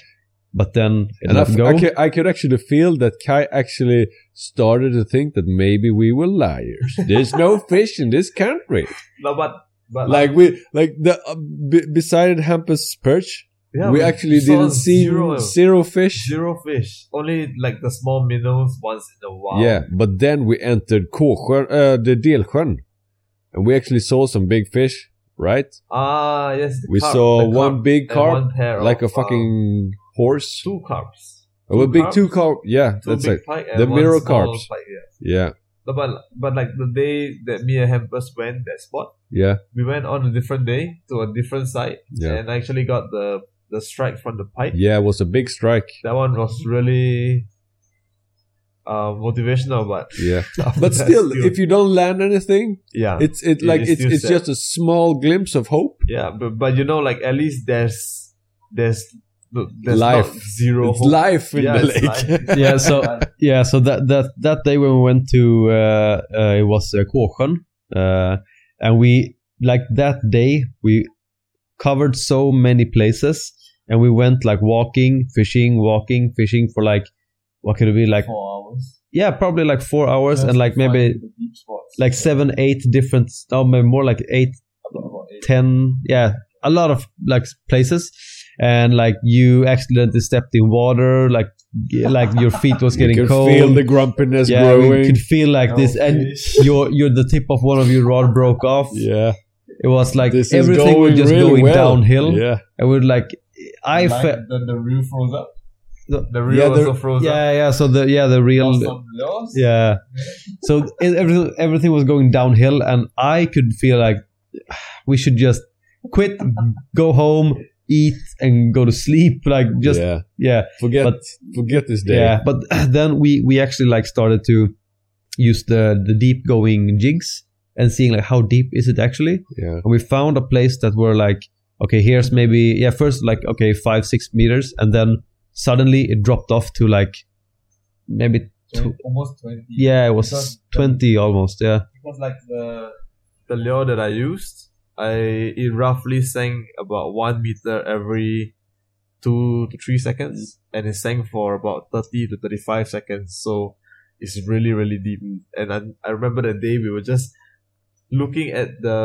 but then it
And I,
let
f-
go.
I, could, I could actually feel that Kai actually started to think that maybe we were
[LAUGHS]
liars. There's no fish in this country.
no, but but
Like we, like the uh, b- beside Hampus perch,
yeah,
we actually
saw
didn't see
zero,
zero, fish.
zero fish. Only like the small minnows once in a while.
Yeah, but then we entered Kåsjön, uh, the Delsjön, and we actually saw some big fish, right?
Ah yes. the
We
carp-
saw
the carp
one big
and
carp,
one pair
like a
of, uh,
fucking horse.
two carps.
Oh, a
two
big
carps?
two carp. Yeah,
Two
that's
big
it.
pike and
The
one
mirror
small
carps.
pike, yeah.
Yeah,
No, but but like the day that me and Hampus went that spot,
yeah,
we went on a different day to a different site,
yeah.
and actually got the the strike from the pipe.
Yeah, it was a big strike.
That one was really uh, motivational, but [LAUGHS]
Yeah,
after
but
that,
still, if you don't land anything,
yeah,
it's it
It
like
is
it's
still
it's
sad.
just a small glimpse of hope.
yeah, but but you know, like at least there's there's there's
Life.
not zero
It's
hope.
life in
Yeah,
the
it's
lake. [LAUGHS]
life.
yeah, so yeah, so that that that day when we went to uh, uh it was uh, Kåsjön, uh, and we like that day we covered so many places, and we went like walking, fishing, walking, fishing for like what could it be like
four hours.
yeah, probably like four hours,
Just
and like
to find
maybe
the deep spots.
like seven, eight different, oh, maybe more like eight
About eight.
10 yeah a lot of like places and like you accidentally stepped in water like g- like your feet was
[LAUGHS] You
getting
could
cold
feel the grumpiness
yeah we
growing. Oh,
could feel like
No
this and
fish.
your your the tip of one of your rod broke off
Yeah,
it was like
this is
everything was
going
just
really
going
well.
downhill
Yeah,
and we're like i
Like,
felt
then the reel froze up.
uh, The-
The reel
Yeah, the-
also froze up.
yeah yeah so the yeah the real
Lost on yours.
yeah so it, everything everything was going downhill and i could feel like we should just quit go home eat and go to sleep like just yeah
yeah.
yeah,
Forget
but-
forget this day.
but [CLEARS THROAT] then we we actually like started to use the the deep going jigs and seeing like how deep is it actually
yeah.
and we found a place that were like okay here's maybe yeah first like okay five six meters and then suddenly it dropped off to like maybe
Twen- almost 20.
yeah it was
Because-
20 almost yeah
Because like the the lure that I used, I it roughly sank about one meter every two to three seconds, and it sank for about thirty to thirty five seconds. So it's really really deep. And I, I remember the day we were just looking at the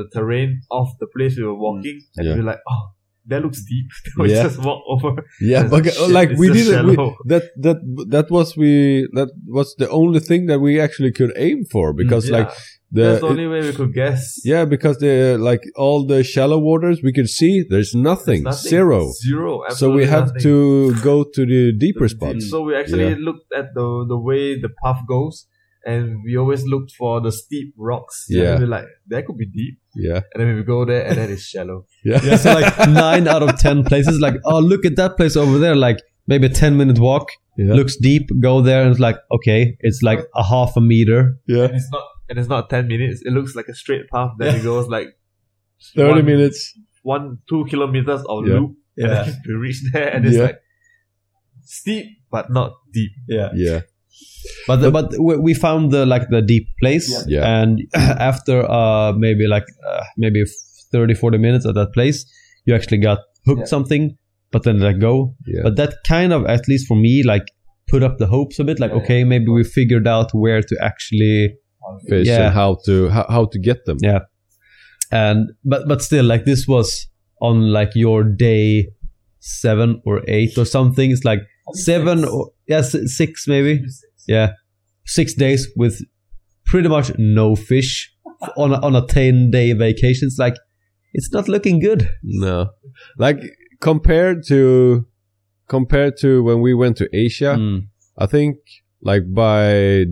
the terrain of the place we were walking,
Hmm.
and
Yeah.
we were like, oh, that looks deep. [LAUGHS] we
Yeah.
just walk over.
Yeah,
It's
but
shit,
like
it's
we
so
didn't. We,
shallow.
that that that was we that was the only thing that we actually could aim for [LAUGHS] because
Hmm, Yeah.
like the,
that's the only way we could guess.
yeah because the like all the shallow waters we could see there's nothing,
Nothing.
zero.
Zero.
So we
absolutely
have
nothing.
to go to the deeper
The- the-
spots.
So we actually looked at the the way the path goes, and we always looked for the steep rocks. And
Yeah.
we were like that could be deep,
Yeah,
and then we go there, and then it's shallow.
yeah,
[LAUGHS] Yeah, so like [LAUGHS] nine out of ten places, like oh look at that place over there, like maybe a ten minute walk,
yeah.
looks deep, go there and it's like okay, it's like a half a meter.
yeah.
[LAUGHS] And it's not and it's not ten minutes. It looks like a straight path. Then it goes like
Thirty
one-
minutes.
one two kilometers of
Yeah.
loop, and [LAUGHS] then we reach there, and it's
Yeah.
like steep but not deep.
yeah.
Yeah,
But the, but we we found the like the deep place,
Yeah. Yeah.
and [CLEARS THROAT] after uh maybe like uh, maybe 30, 40 minutes at that place, you actually got hooked
Yeah.
something, but then let go.
yeah,
But that kind of at least for me like put up the hopes a bit, like
Yeah, yeah.
okay maybe we figured out where to actually
fish
yeah.
and how to how, how to get them.
Yeah. and but but still like this was on like your day seven or eight or something it's like seven or yes six maybe yeah six days with pretty much no fish on a, on a 10 day vacation it's like it's not looking good
No, like compared to compared to when we went to Asia,
Mm.
I think like by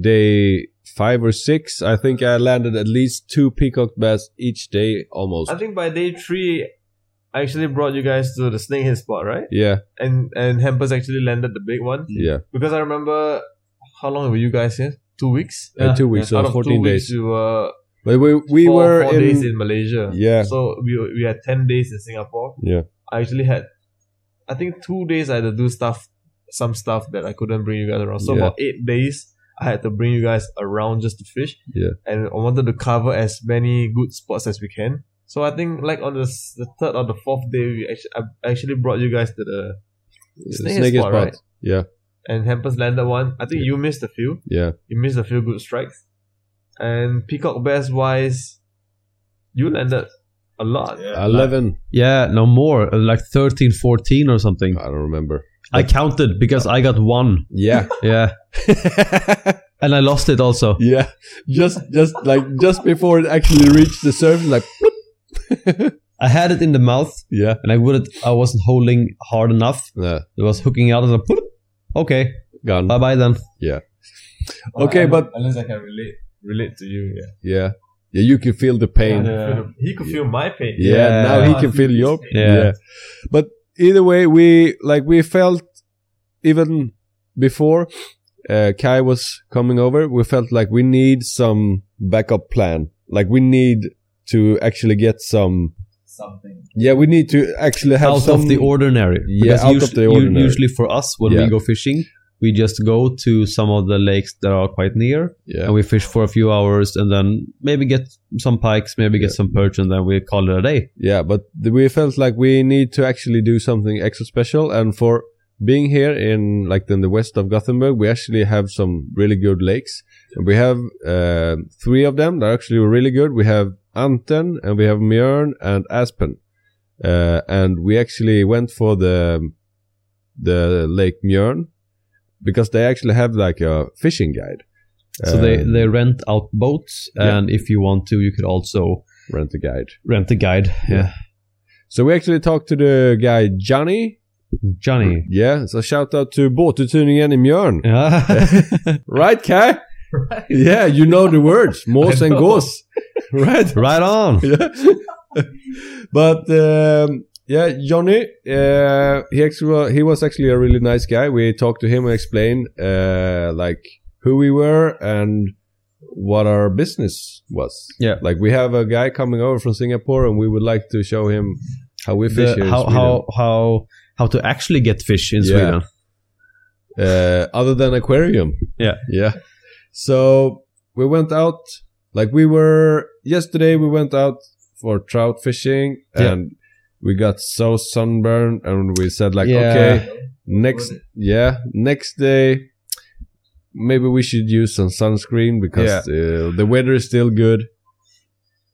day five or six, I think I landed at least two peacock bass each day almost.
I think by day three, I actually brought you guys to the snakehead spot, right?
yeah,
And and Hampers actually landed the big one
yeah,
because I remember how long were you guys here? Two weeks.
Uh, two weeks,
Out
so
of
fourteen
two
days.
Weeks, you were
But we we
four,
were
four
in,
days in Malaysia.
yeah
So we we had ten days in Singapore.
yeah
I actually had, I think two days I had to do stuff, some stuff that I couldn't bring you guys around. So
Yeah.
about eight days, I had to bring you guys around just to fish.
Yeah.
And I wanted to cover as many good spots as we can. So I think like on the, s- the third or the fourth day, we actually, I actually brought you guys to the
uh,
Snakehead spot, right?
yeah
and Hampers landed one. I think you missed a few.
yeah
You missed a few good strikes. And peacock bass wise, you landed a lot.
eleven.
yeah no more Uh, like 13 14 or something
I don't remember.
i counted because i got one
[LAUGHS]
Yeah,
yeah and i lost it also
yeah. Just just like just before it actually reached the surface, like
i had it in the mouth
yeah
and i wouldn't i wasn't holding hard enough
nah,
it was hooking out and I, okay
gone.
Um,
bye bye then
Okay, but-
unless I can relate relate to you, yeah.
Yeah. Yeah, you can feel the pain. Yeah,
He could feel- He could feel my pain.
Yeah.
now he can feel your pain.
Yeah.
But either way, we like we felt even before uh, Kai was coming over, we felt like we need some backup plan. Like we need to actually get some
something.
yeah, we need to actually have
out
some
of the ordinary.
Yeah,
Because
out of
usu-
the
u-
ordinary.
Usually for us, when
Yeah.
we go fishing, we just go to some of the lakes that are quite near,
yeah.
and we fish for a few hours, and then maybe get some pikes, maybe get some perch, and then we call it a day.
Yeah, but th- we felt like we need to actually do something extra special. And for being here in like in the west of Gothenburg, we actually have some really good lakes. And we have uh, three of them that are actually really good. We have Anten, and we have Mjörn and Aspen. Uh, and we actually went for the the Lake Mjörn because they actually have like a fishing guide.
So they,
Um,
they rent out boats,
Yeah.
and if you want to, you could also
rent a guide.
rent a guide. Yeah,
So we actually talked to the guy Johnny,
Johnny.
Yeah, so shout out to båtuthyrningen i
[LAUGHS]
Mjörn.
Yeah.
Right, Kai? Yeah, you know the
[LAUGHS]
words. Mås
I
and
know.
gås. [LAUGHS] Right?
right on.
Yeah. but um, yeah, Johnny, uh, he, actually, he was actually a really nice guy. We talked to him and explained uh, like who we were and what our business was.
Yeah.
Like we have a guy coming over from Singapore and we would like to show him how we [LAUGHS] fish here
The,
in
how
Sweden.
how how how to actually get fish in
Yeah.
Sweden?
uh, other than aquarium.
Yeah.
Yeah. So we went out, like we were yesterday, we went out for trout fishing
Yeah.
and we got so sunburned and we said, like,
Yeah.
okay, next, yeah, next day, maybe we should use some sunscreen because
Yeah.
uh, the weather is still good.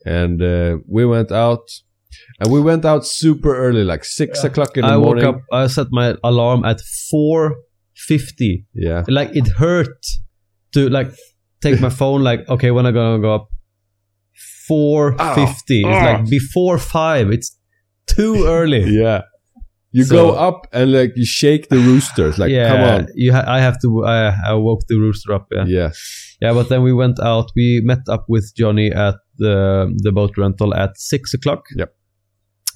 And uh, we went out. And we went out super early, like six
Yeah.
o'clock in the
I woke
morning.
up. I set my alarm at four fifty
Yeah,
like it hurt to like take my phone like okay when i gonna go up 4.50
Oh,
it's like before 5 it's too [LAUGHS] early
Yeah. You
So-
go up and like you shake the roosters, [LAUGHS] like
yeah
come on.
you ha- i have to I, I woke the rooster up yeah. yeah
Yeah.
but then we went out we met up with johnny at the the boat rental at 6 o'clock
Yep.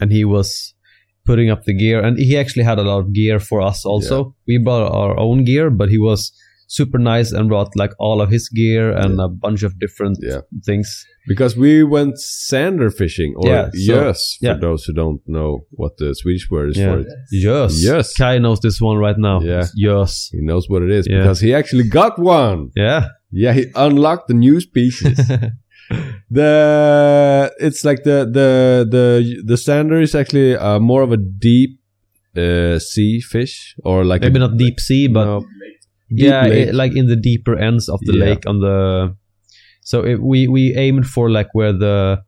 and he was putting up the gear and he actually had a lot of gear for us also we brought our own gear but he was super nice and brought like all of his gear and a bunch of different
Yeah.
things
Because we went sander fishing or
Yeah,
yeah,
so-
for
yeah.
those who don't know what the Swedish word is
Yeah.
for it.
Yes.
Yes.
Kai knows this one right now.
Yeah.
Yes.
He knows what it is
Yeah.
because he actually got one.
Yeah.
Yeah, he unlocked the new
[LAUGHS]
species. the it's like the the the the sander is actually uh, more of a deep uh, sea fish or like
Maybe
a,
not deep sea, but
no, deep
yeah,
lake.
it, like in the deeper ends of the
Yeah.
lake on the. So it, we we aimed for like where the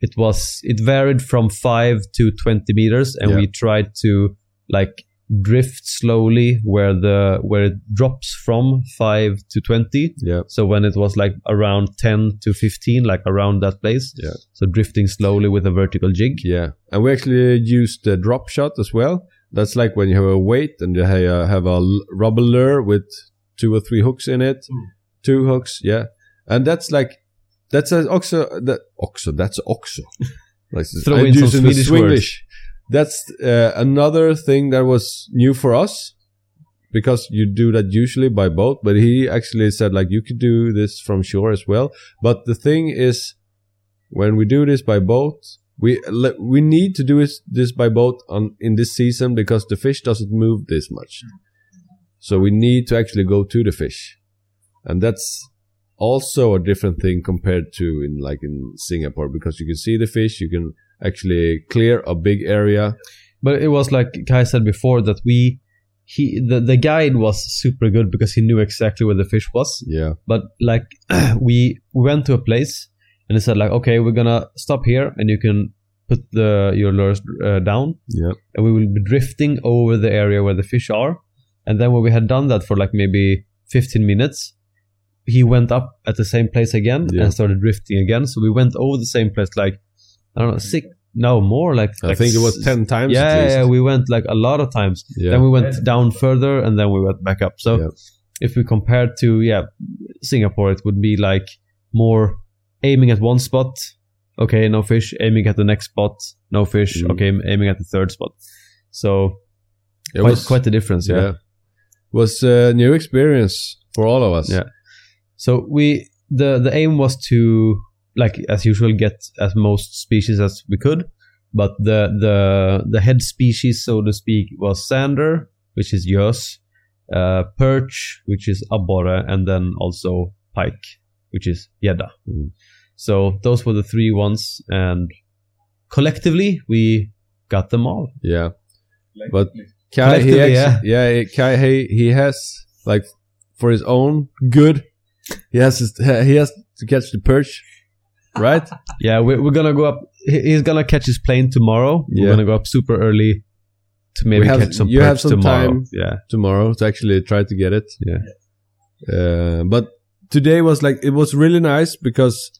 it was it varied from five to twenty meters, and
Yeah.
we tried to like drift slowly where the where it drops from 5 to 20
Yeah.
so when it was like around 10 to 15 like around that place
Yeah.
so drifting slowly with a vertical jig
Yeah, and we actually used the drop shot as well. That's like when you have a weight and you ha- uh, have a l- rubber lure with two or three hooks in it,
Mm.
two hooks, yeah. And that's like that's a also that also that's
[LAUGHS]
also like
Throw
I'm
in some
using the
Swedish
Swinglish.
words.
That's uh, another thing that was new for us because you do that usually by boat, but he actually said like you could do this from shore as well. But the thing is, when we do this by boat, we le- we need to do this, this by boat on in this season because the fish doesn't move this much. So we need to actually go to the fish, and that's also a different thing compared to in like in Singapore because you can see the fish, you can actually clear a big area.
But it was like Kai said before that we he the, the guide was super good because he knew exactly where the fish was.
Yeah,
But like [CLEARS THROAT] we we went to a place and he said like okay we're gonna stop here and you can put the your lures uh, down
yeah,
and we will be drifting over the area where the fish are. And then when we had done that for like maybe 15 minutes, he went up at the same place again
Yeah.
and started drifting again. So we went over the same place like I don't know six no more like
I
like
think it was
s-
ten times.
yeah,
at least.
yeah, we went like a lot of times.
yeah.
Then we went down further, and then we went back up. So
Yeah.
if we compared to yeah, Singapore, it would be like more aiming at one spot, okay, no fish. Aiming at the next spot, no fish.
Mm.
Okay, aiming at the third spot. So
It
quite
was-
quite the difference, yeah.
yeah. Was a new experience for all of us.
Yeah. So we the the aim was to like as usual get as most species as we could, but the the the head species so to speak was sander, which is yours, uh, perch, which is abborre, and then also pike, which is yedda.
Mm.
So those were the three ones, and collectively we got them all.
Yeah.
Like,
But- Kai, he
Collectively,
actu- yeah. Kai, he, he has like for his own good, he has his, he has to catch the perch, right?
Yeah, we're, we're gonna go up. he- He's gonna catch his plane tomorrow.
Yeah.
We're gonna go up super early to maybe
We have-
catch some
you
perch
have some
tomorrow.
time.
Yeah,
Tomorrow to actually try to get it.
Yeah.
Uh, but today was like it was really nice because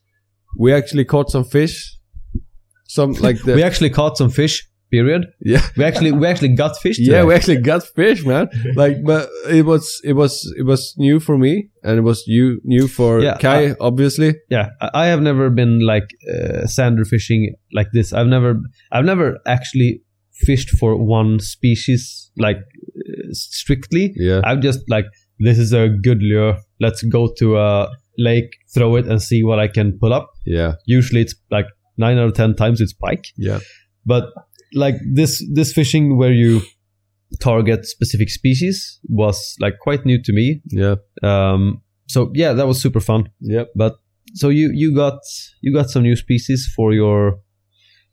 we actually caught some fish, [LAUGHS] some like the
we actually caught some fish. Period.
Yeah.
we actually we actually got fish. Today.
yeah we actually got fish [LAUGHS] man like but it was it was it was new for me and it was new new for
Yeah,
kai obviously
yeah. I I have never been like uh, sander fishing like this. I've never I've never actually fished for one species like uh, strictly.
yeah
I'm just like this is a good lure. Let's go to a lake, throw it, and see what I can pull up.
yeah
Usually it's like nine out of ten times it's pike.
yeah
but like this this fishing where you target specific species was like quite new to me
yeah
um so yeah that was super fun
yep
so you you got you got some new species for your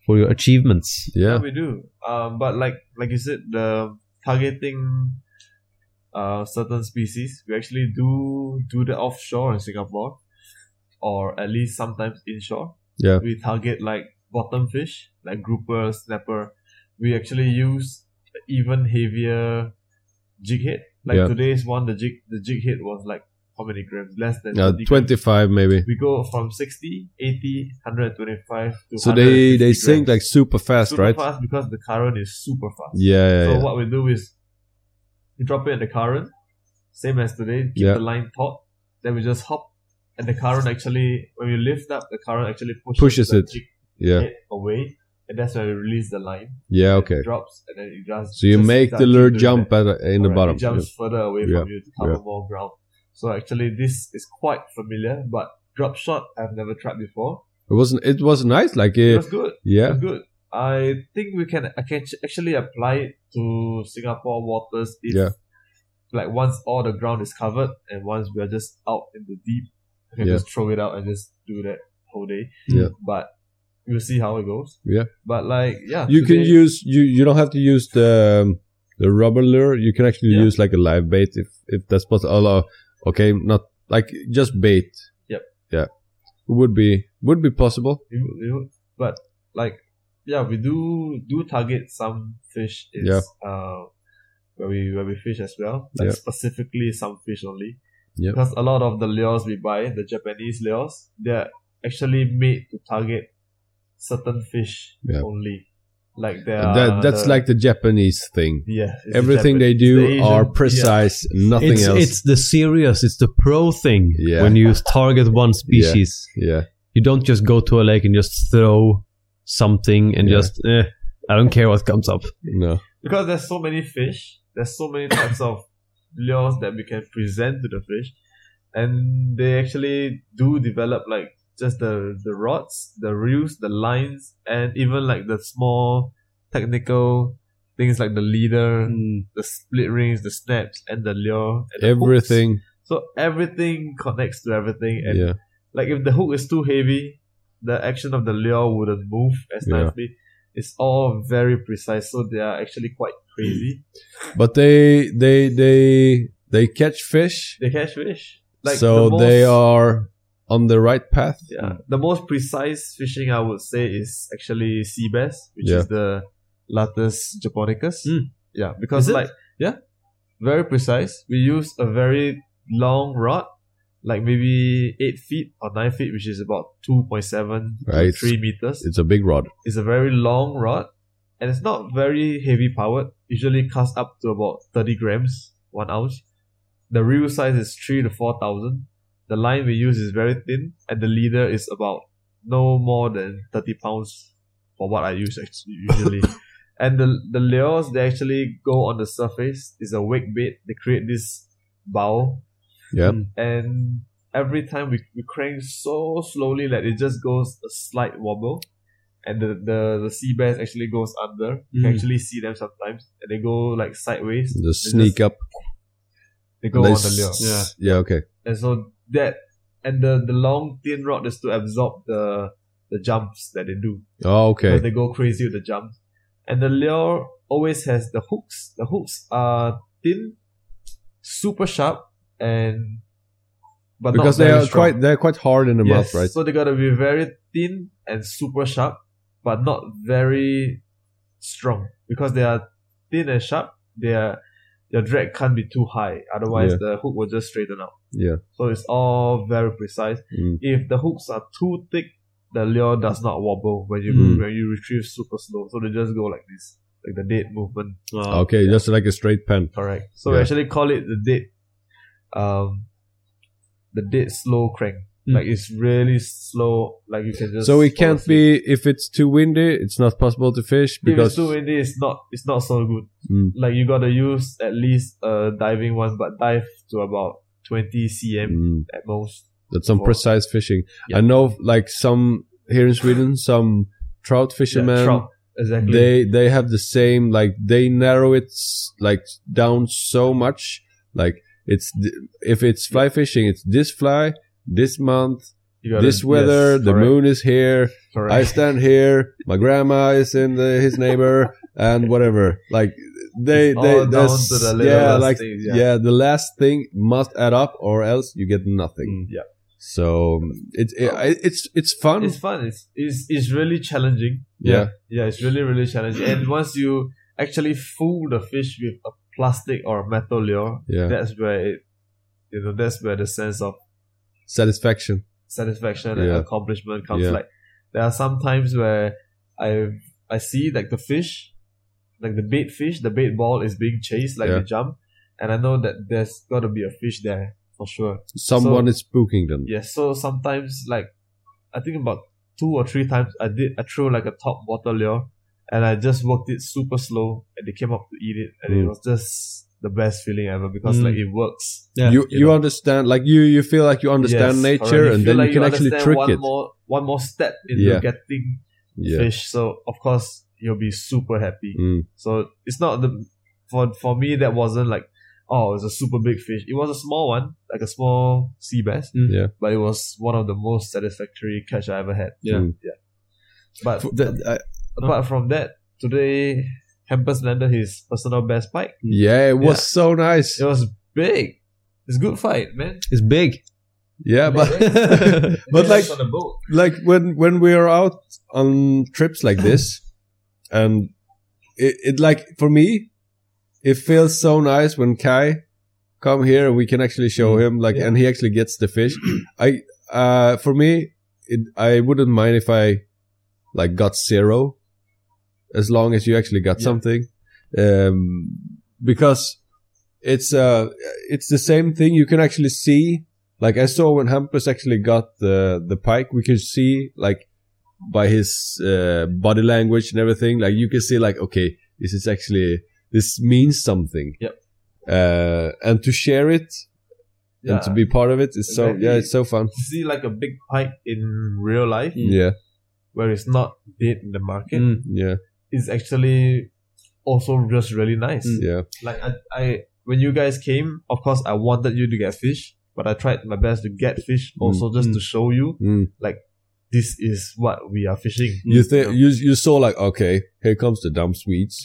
for your achievements
yeah
we do. Um, but like like you said, the targeting uh certain species, we actually do do the offshore in Singapore, or at least sometimes inshore.
Yeah.
We target like bottom fish, like grouper, snapper. We actually use even heavier jig head. Like
Yeah.
today's one, the jig the jig head was like how many grams? Less than
yeah
20 grams.
25 Uh, maybe
We go from 60, 80, 125 to
so they they
150
sink
grams
like super fast
super
right
fast because the current is super fast.
yeah yeah,
so
yeah.
what we do is we drop it in the current, same as today, keep
Yeah.
the line taut, then we just hop and the current actually when we lift up the current actually pushes,
Pushes
the
it.
jig
yeah
head away and that's when we release the line.
yeah
It
okay
drops and then it just
so you
just
make
starts
the lure
doing
jump
that.
at, uh, in the
Correct,
bottom
It jumps further away from
Yeah,
you to cover more ground. So actually this is quite familiar, but drop shot I've never tried before.
it wasn't it was nice like
It
it,
was good.
yeah
good. I think we can I can ch- actually apply it to Singapore waters if
Yeah.
like once all the ground is covered and once we are just out in the deep, we can
Yeah.
just throw it out and just do that whole day.
Yeah.
But we'll see how it goes.
Yeah.
But like yeah,
you can
today-
use you you don't have to use the um, the rubber lure you can actually
Yeah.
use like a live bait if if that's possible Although, okay not like just bait
Yep.
yeah would be would be possible
we would- we would- but like yeah, we do do target some fish. It's
Yeah.
uh, where we where we fish as well, like
Yeah.
specifically some fish only.
Yeah.
Because a lot of the lures we buy, the Japanese lures, they're actually made to target certain fish
Yeah.
only. Like they are
that, that's
the-
like the Japanese thing.
yeah, it's the
Everything they
Japanese- the
do
Asian-
are
yeah.
precise, nothing
it's,
else.
it's the serious, it's the pro thing.
Yeah.
When you target one species,
yeah,
you don't just go to a lake and just throw something and
Yeah.
just, eh, I don't care what comes up.
no,
because there's so many fish, there's so many types of lures that we can present to the fish, and they actually do develop like just the the rods, the reels, the lines, and even like the small technical things like the leader,
Mm.
the split rings, the snaps, and the lure, and the hooks.
everything.
So everything connects to everything, and
Yeah,
like if the hook is too heavy, the action of the lure wouldn't move as
Yeah.
nicely. It's all very precise, so they are actually quite crazy.
but they they they they catch fish,
They catch fish.
so
the most-
they are on the right path.
Yeah, the most precise fishing I would say is actually sea bass, which
Yeah. Hmm.
is the Latus japonicus.
Mm.
Yeah, because
Is it?
like yeah, very precise. We use a very long rod, like maybe eight feet or nine feet, which is about two point seven
Right.
to three meters.
It's a big rod.
It's a very long rod and it's not very heavy powered. Usually casts up to about 30 grams, one ounce. The reel size is three to four thousand. The line we use is very thin and the leader is about no more than 30 pounds for what I use actually
[LAUGHS]
usually. and the, the lures they actually go on the surface is a wake bait. They create this bow
Yeah,
and every time we, we crank so slowly that it just goes a slight wobble and the, the, the sea bass actually goes under. You can
Mm.
actually see them sometimes and they go like sideways.
the sneak up.
They go
They
on
s-
the lure. Yeah.
yeah, okay.
And so that and the, the long thin rod is to absorb the the jumps that they do.
Oh,
Because
okay.
they go crazy with the jumps. And the lure always has the hooks. The hooks are thin, super sharp, and but not
Because they
very
are
strong.
quite they're quite hard in the mouth, right?
So they gotta be very thin and super sharp, but not very strong. Because they are thin and sharp, their your drag can't be too high. Otherwise
Yeah.
the hook will just straighten out.
Yeah.
So it's all very precise.
Mm.
If the hooks are too thick, the lure does not wobble when you
Mm.
when you retrieve super slow. So they just go like this. Like the dead movement.
Okay, just like a straight pen.
Correct. So
Yeah.
we actually call it the dead um the dead slow crank.
Mm.
Like it's really slow. Like you can just
Hmm. So it
fall
can't
asleep.
be if it's too windy. It's not possible to fish
if
because
it's too windy, it's not it's not so good.
Mm.
Like you gotta use at least a diving one, but dive to about twenty cm
Mm,
at most.
that's some
Or-
precise fishing.
Yeah.
I know, like some here in Sweden, some trout fishermen.
Yeah, trout. Mm. Exactly.
They they have the same like they narrow it s- like down so much. Like it's th- if it's fly fishing, it's this fly, this month,
You gotta-
this weather,
yes,
the
correct,
moon is here,
Correct.
I stand here. My grandma is in the, his neighbor, and whatever. Like they,
It's
they,
all down
that's-
to the
yeah,
littlest
like
things,
yeah.
yeah.
the last thing must add up, or else you get nothing.
yeah.
So it's it, it's it's fun.
It's fun. It's, it's it's really challenging.
yeah,
Yeah, it's really really challenging. and once you actually fool the fish with a plastic or a metal lure,
yeah,
that's where it you know, that's where the sense of
satisfaction.
satisfaction
Yeah.
and accomplishment comes.
Yeah.
Like there are some times where I I see like the fish, like the bait fish, the bait ball is being chased, like
Yeah.
the jump, and I know that there's gotta be a fish there for sure.
Someone is spooking them.
Yeah, so sometimes like I think about two or three times I did I threw like a top water lure and I just worked it super slow and they came up to eat it and it
Mm.
was just the best feeling ever because
Mm.
like it works.
Yeah.
you you
Yeah.
understand like you you feel like you understand
Yes,
nature,
correct. You
and
feel
then
like
you can actually
understand
trick
one
it.
More, one more step into
Yeah.
getting
yeah.
fish. So of course you'll be super happy.
Mm.
So it's not the for for me that wasn't like oh it's a super big fish. It was a small one, like a small sea bass.
Mm.
Yeah.
But it was one of the most satisfactory catch I ever had.
Yeah.
Mm.
Yeah. Mm. But
F- that- I-
apart from that, today Hampus landed his personal best bike.
yeah, it was
Yeah.
so nice.
It was big. It's good fight, man.
It's big.
Yeah, [LAUGHS]
[LAUGHS]
but but
It's
like
on the boat.
like when when we are out
[CLEARS THROAT]
on trips like this and it, it like for me it feels so nice when Kai come here and we can actually show him like
Mm. Yeah.
and he actually gets the
[CLEARS THROAT]
fish. I uh for me it, I wouldn't mind if I like got zero as long as you actually got
Yeah.
something um because it's uh it's the same thing you can actually see like I saw when Hampus actually got the the pike we could see like by his uh, body language and everything like you can see like okay this is actually this means something
Yep.
uh and to share it and to
Yeah.
be part of it is so
Exactly.
yeah it's so fun
To see like a big pike in real life
yeah
where it's not dead in the market
Mm.
yeah
is actually also just really nice.
yeah
Like I, I when you guys came, of course I wanted you to get fish, but I tried my best to get fish also just
Mm.
to show you
Mm.
this is what we are
[LAUGHS]
fishing.
you think you you saw like okay here comes the dumb Swedes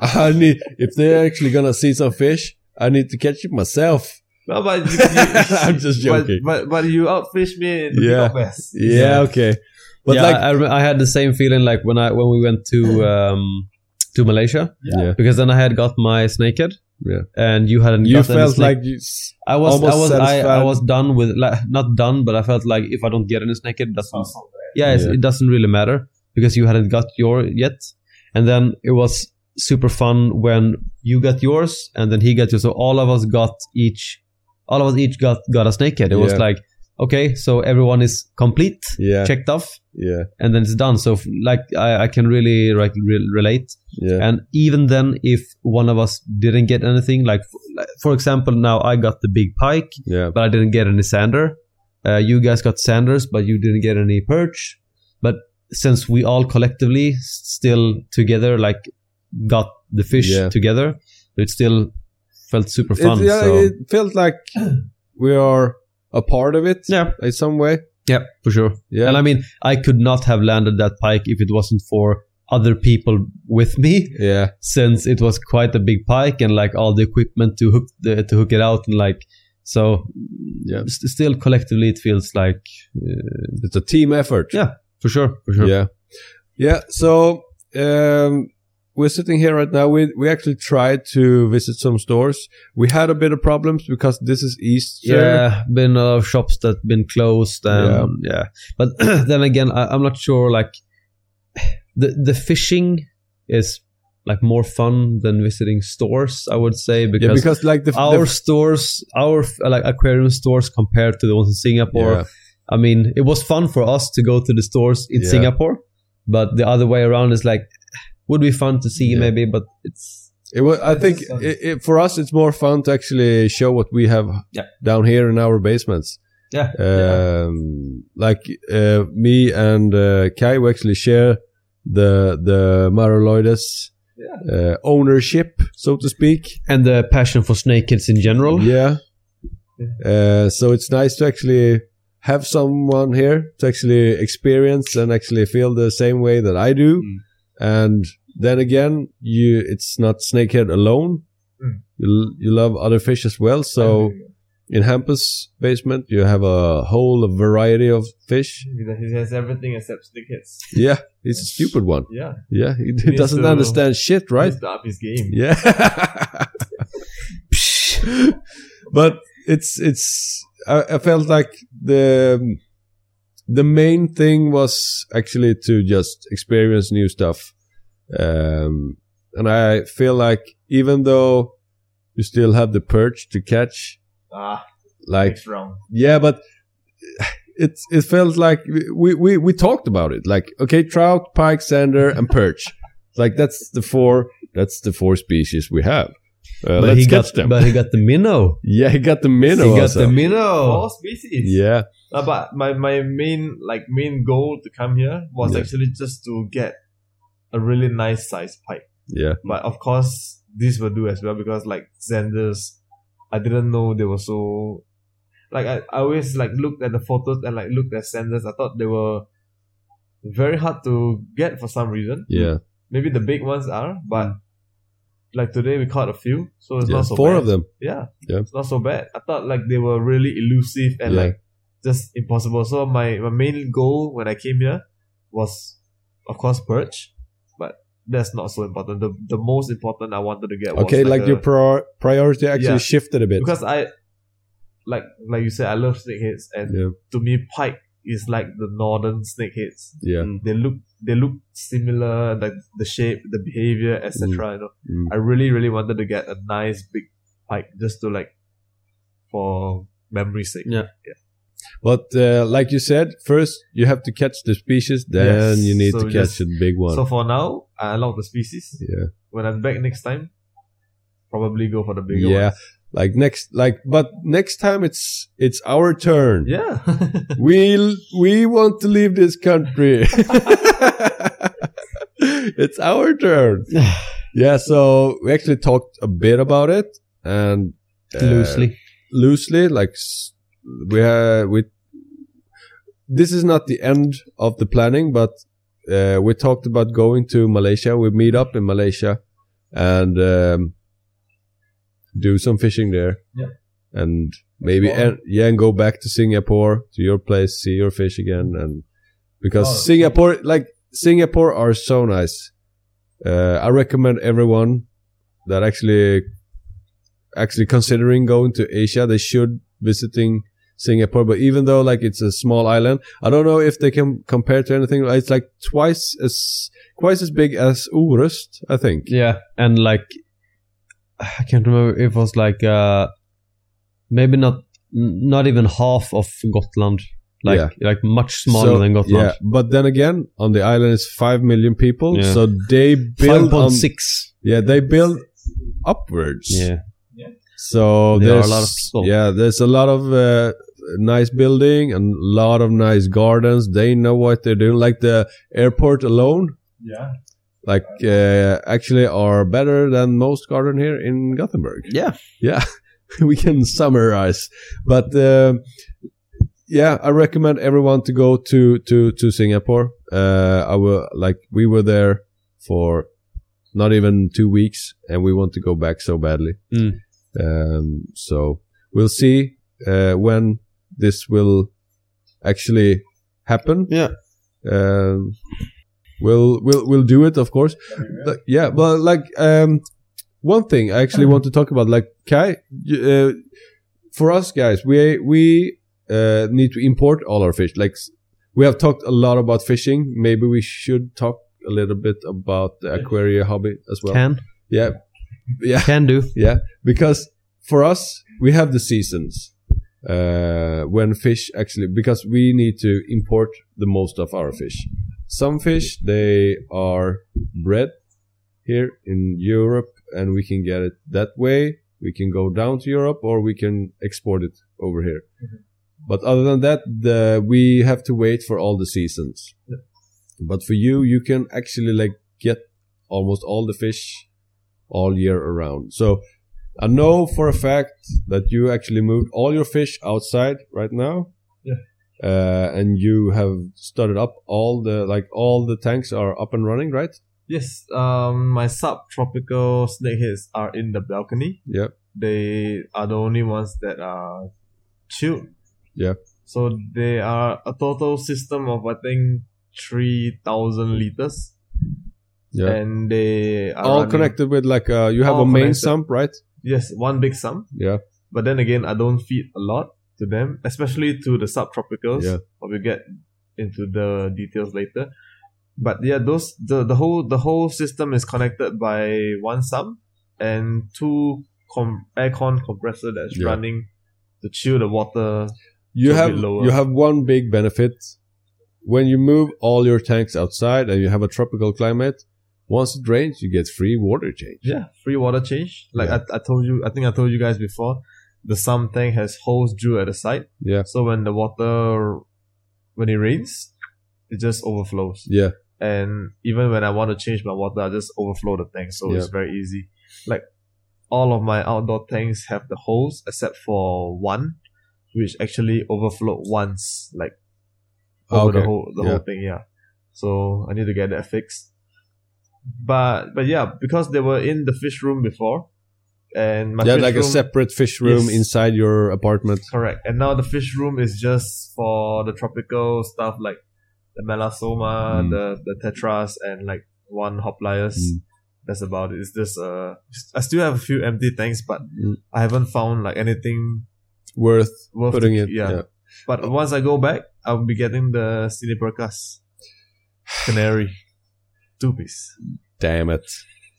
I need if they're actually gonna see some fish I need to catch it myself
No, but you- you-
[LAUGHS] I'm just
but-
joking.
But, but, you outfish me in the
Yeah.
yeah. best.
yeah okay but
yeah,
like
I, I rem- I had the same feeling like when I when we went
[LAUGHS]
to um, to Malaysia
yeah,
because then I had got my snakehead.
Yeah.
And you hadn't.
you
gotten any
felt
snake-
like you, s-
I was
almost
I was I, I
satisfied.
was done with like not done, but I felt like if I don't get any snakehead, that's
Sounds so bad.
yeah, it's
Yeah.
it doesn't really matter because you hadn't got your yet. And then it was super fun when you got yours and then he got yours. So all of us got each, all of us each got got a snakehead. It was
Yeah.
like okay, so everyone is complete,
yeah
checked off,
yeah
and then it's done. So f- like I, I can really like re- relate.
yeah
And even then, if one of us didn't get anything, like f- like, for example, now I got the big pike
yeah
but I didn't get any sander. Uh, you guys got sanders, but you didn't get any perch. But since we all collectively s- still together, like got the fish
Yeah.
together, it still felt super
it,
fun.
yeah,
so
it felt like we are a part of it
yeah,
in some way
yeah, for sure.
yeah
And I mean, I could not have landed that pike if it wasn't for other people with me,
yeah
since it was quite a big pike and like all the equipment to hook the, to hook it out and like so.
Yeah.
s- still collectively, it feels like
it's a team effort
Yeah, for sure, for sure.
Yeah. Yeah. So um, we're sitting here right now. We we actually tried to visit some stores. We had a bit of problems because this is Easter.
Yeah, been a lot of shops that been closed and yeah. But [CLEARS THROAT] then again, I, I'm not sure. Like [SIGHS] the the fishing is like more fun than visiting stores. I would say because,
Yeah, because like the,
our
the
stores, our f- like aquarium stores compared to the ones in Singapore.
yeah,
I mean, it was fun for us to go to the stores in
Yeah.
Singapore, but the other way around is like would be fun to see
Yeah.
maybe, but it's
it was. I think
It's
um,
fun.
it, it, for us, it's more fun to actually show what we have
Yeah.
down here in our basements.
yeah.
Um, like uh, me and uh, Kai, we actually share the the Maroloides uh, ownership, so to speak.
And the passion for snakeheads in
Oh.
general.
Yeah. Uh, so it's nice to actually have someone here to actually experience and actually feel the same way that I do.
Mm.
And then again, you it's not snakehead alone.
Mm.
You, l- you love other fish as well. So in Hampus' basement, you have a whole variety of fish.
[LAUGHS] he has everything except snakeheads.
Yeah, he's a stupid one.
Yeah,
Yeah, he, he
needs
doesn't
to-
understand shit,
right.
right?
He's up his game.
Yeah. but it's it's I, I felt like the the main thing was actually to just experience new stuff. Um and I feel like even though you still have the perch to catch,
Ah,
like
next round.
yeah, but it it felt like we we we talked about it. Like okay, trout, pike, sander, and perch. like that's the four. That's the four species we have. Uh,
but
let's
he
catch
got
them.
but he got the
[LAUGHS]
minnow.
yeah, he got the minnow.
he got
also.
the minnow.
Four species.
yeah,
Uh, but my, my main like main goal to come here was
Yeah.
actually just to get a really nice size pike.
yeah,
But of course, this will do as well because like Xanders, I didn't know they were so. Like I, I always like looked at the photos and like looked at Xanders. I thought they were very hard to get for some reason.
yeah. Mm.
Maybe the big ones are, but like today we caught a few, so it's
yeah.
not so
four
bad.
of them.
Yeah.
Yeah.
It's not so bad. I thought like they were really elusive and
Yeah.
like just impossible. So my, my main goal when I came here was of course perch. But that's not so important. The the most important I wanted to get was
Okay, like,
a-
your prior- priority actually
Yeah.
shifted a bit.
because I like like you said I love snakeheads and
yeah,
to me pike is like the northern snakeheads.
yeah.
They look they look similar like the shape, the behavior, etc. You know,
Mm.
I really really wanted to get a nice big pike just to like for memory's sake.
Yeah.
But uh, like you said, first you have to catch the species, then
Yes,
you need
so
to
we
catch
just-
a big one.
So for now, I unlock the species.
Yeah.
When I'm back next time, probably go for the bigger
yeah,
one.
like next, like but next time it's it's our turn.
Yeah. [LAUGHS]
We we want to leave this country. [LAUGHS] it's our
[SIGHS]
turn. Yeah, so we actually talked a bit about it and uh,
Loosely.
loosely like s- we uh, we this is not the end of the planning but uh, we talked about going to malaysia we meet up in malaysia and um, do some fishing there
Yeah.
and maybe
Explore.
and, yeah and go back to singapore to your place see your fish again and because
Oh,
singapore like singapore are so nice uh, i recommend everyone that actually actually considering going to Asia, they should visiting Singapore. But even though like it's a small island, I don't know if they can compare to anything. It's like twice as twice as big as Orust, I think.
Yeah, and like I can't remember if it was like uh maybe not n- not even half of Gotland. Like
Yeah.
like much smaller
So-
than Gotland.
but then again, on the island is five million people,
Yeah.
so they
Five
build on.
point six.
Yeah, they build upwards.
Yeah.
So
There are a
there's
lot of people.
Yeah, there's a lot of uh, nice building and a lot of nice gardens. They know what they're doing. Like the airport alone,
yeah.
like uh, actually are better than most garden here in Gothenburg.
Yeah.
yeah, [LAUGHS] we can summarize. But uh, yeah, I recommend everyone to go to to to Singapore. Uh, I will like we were there for not even two weeks, and we want to go back so badly.
Mm.
Um, so we'll see uh, when this will actually happen.
Yeah.
Um, we'll we'll we'll do it, of course. Like, yeah, but like um, one thing I actually want to talk about, like Kai, y- uh, for us guys, we we uh, need to import all our fish. Like s- we have talked a lot about fishing. Maybe we should talk a little bit about the aquaria hobby as well.
Can
Yeah, yeah,
can do.
because for us we have the seasons uh, when fish actually because we need to import the most of our fish. Some fish they are bred here in Europe and we can get it that way. We can go down to Europe or we can export it over here. But other than that, the, we have to wait for all the seasons. But for you, you can actually like get almost all the fish all year around. So I know for a fact that you actually moved all your fish outside right now.
Yeah.
Uh, and you have started up all the like all the tanks are up and running, right?
Yes. Um, my subtropical snakeheads are in the balcony.
Yeah.
They are the only ones that are chilled.
Yeah.
So they are a total system of I think three thousand liters.
Yeah.
And they are
all
Ah, running-
connected with like uh, you have
All
a main
connected.
sump, right?
Yes, one big sum.
Yeah.
But then again, I don't feed a lot to them, especially to the subtropicals.
Yeah.
But we'll get into the details later. But yeah, those the, the whole the whole system is connected by one sum and two com- aircon compressor that's
Yeah.
running to chill the water.
You
So a
have
bit lower.
you have one big benefit when you move all your tanks outside and you have a tropical climate. Once it rains, you get free water change.
Yeah, free water change. Like
Yeah.
I, I told you, I think I told you guys before, the sum tank has holes drilled at the side.
Yeah.
So when the water, when it rains, it just overflows.
Yeah,
and even when I want to change my water, I just overflow the tank, so it's
Yeah.
very easy. Like all of my outdoor tanks have the holes except for one, which actually overflowed once, like over the
Ah, Okay,
whole the
yeah.
whole thing. Yeah, so I need to get that fixed. But but yeah, because they were in the fish room before, and my
yeah,
fish
like a
room,
separate fish room
Yes.
inside your apartment.
Correct. And now the fish room is just for the tropical stuff like the melasoma,
Mm.
the, the tetras, and like one hop liars.
Mm.
That's about it. It's just uh, I still have a few empty tanks, but
Mm.
I haven't found like anything
worth
worth
putting
to-
it.
Yeah. But once I go back, I'll be getting the Cine
[SIGHS]
Percas Canary two piece.
Damn it.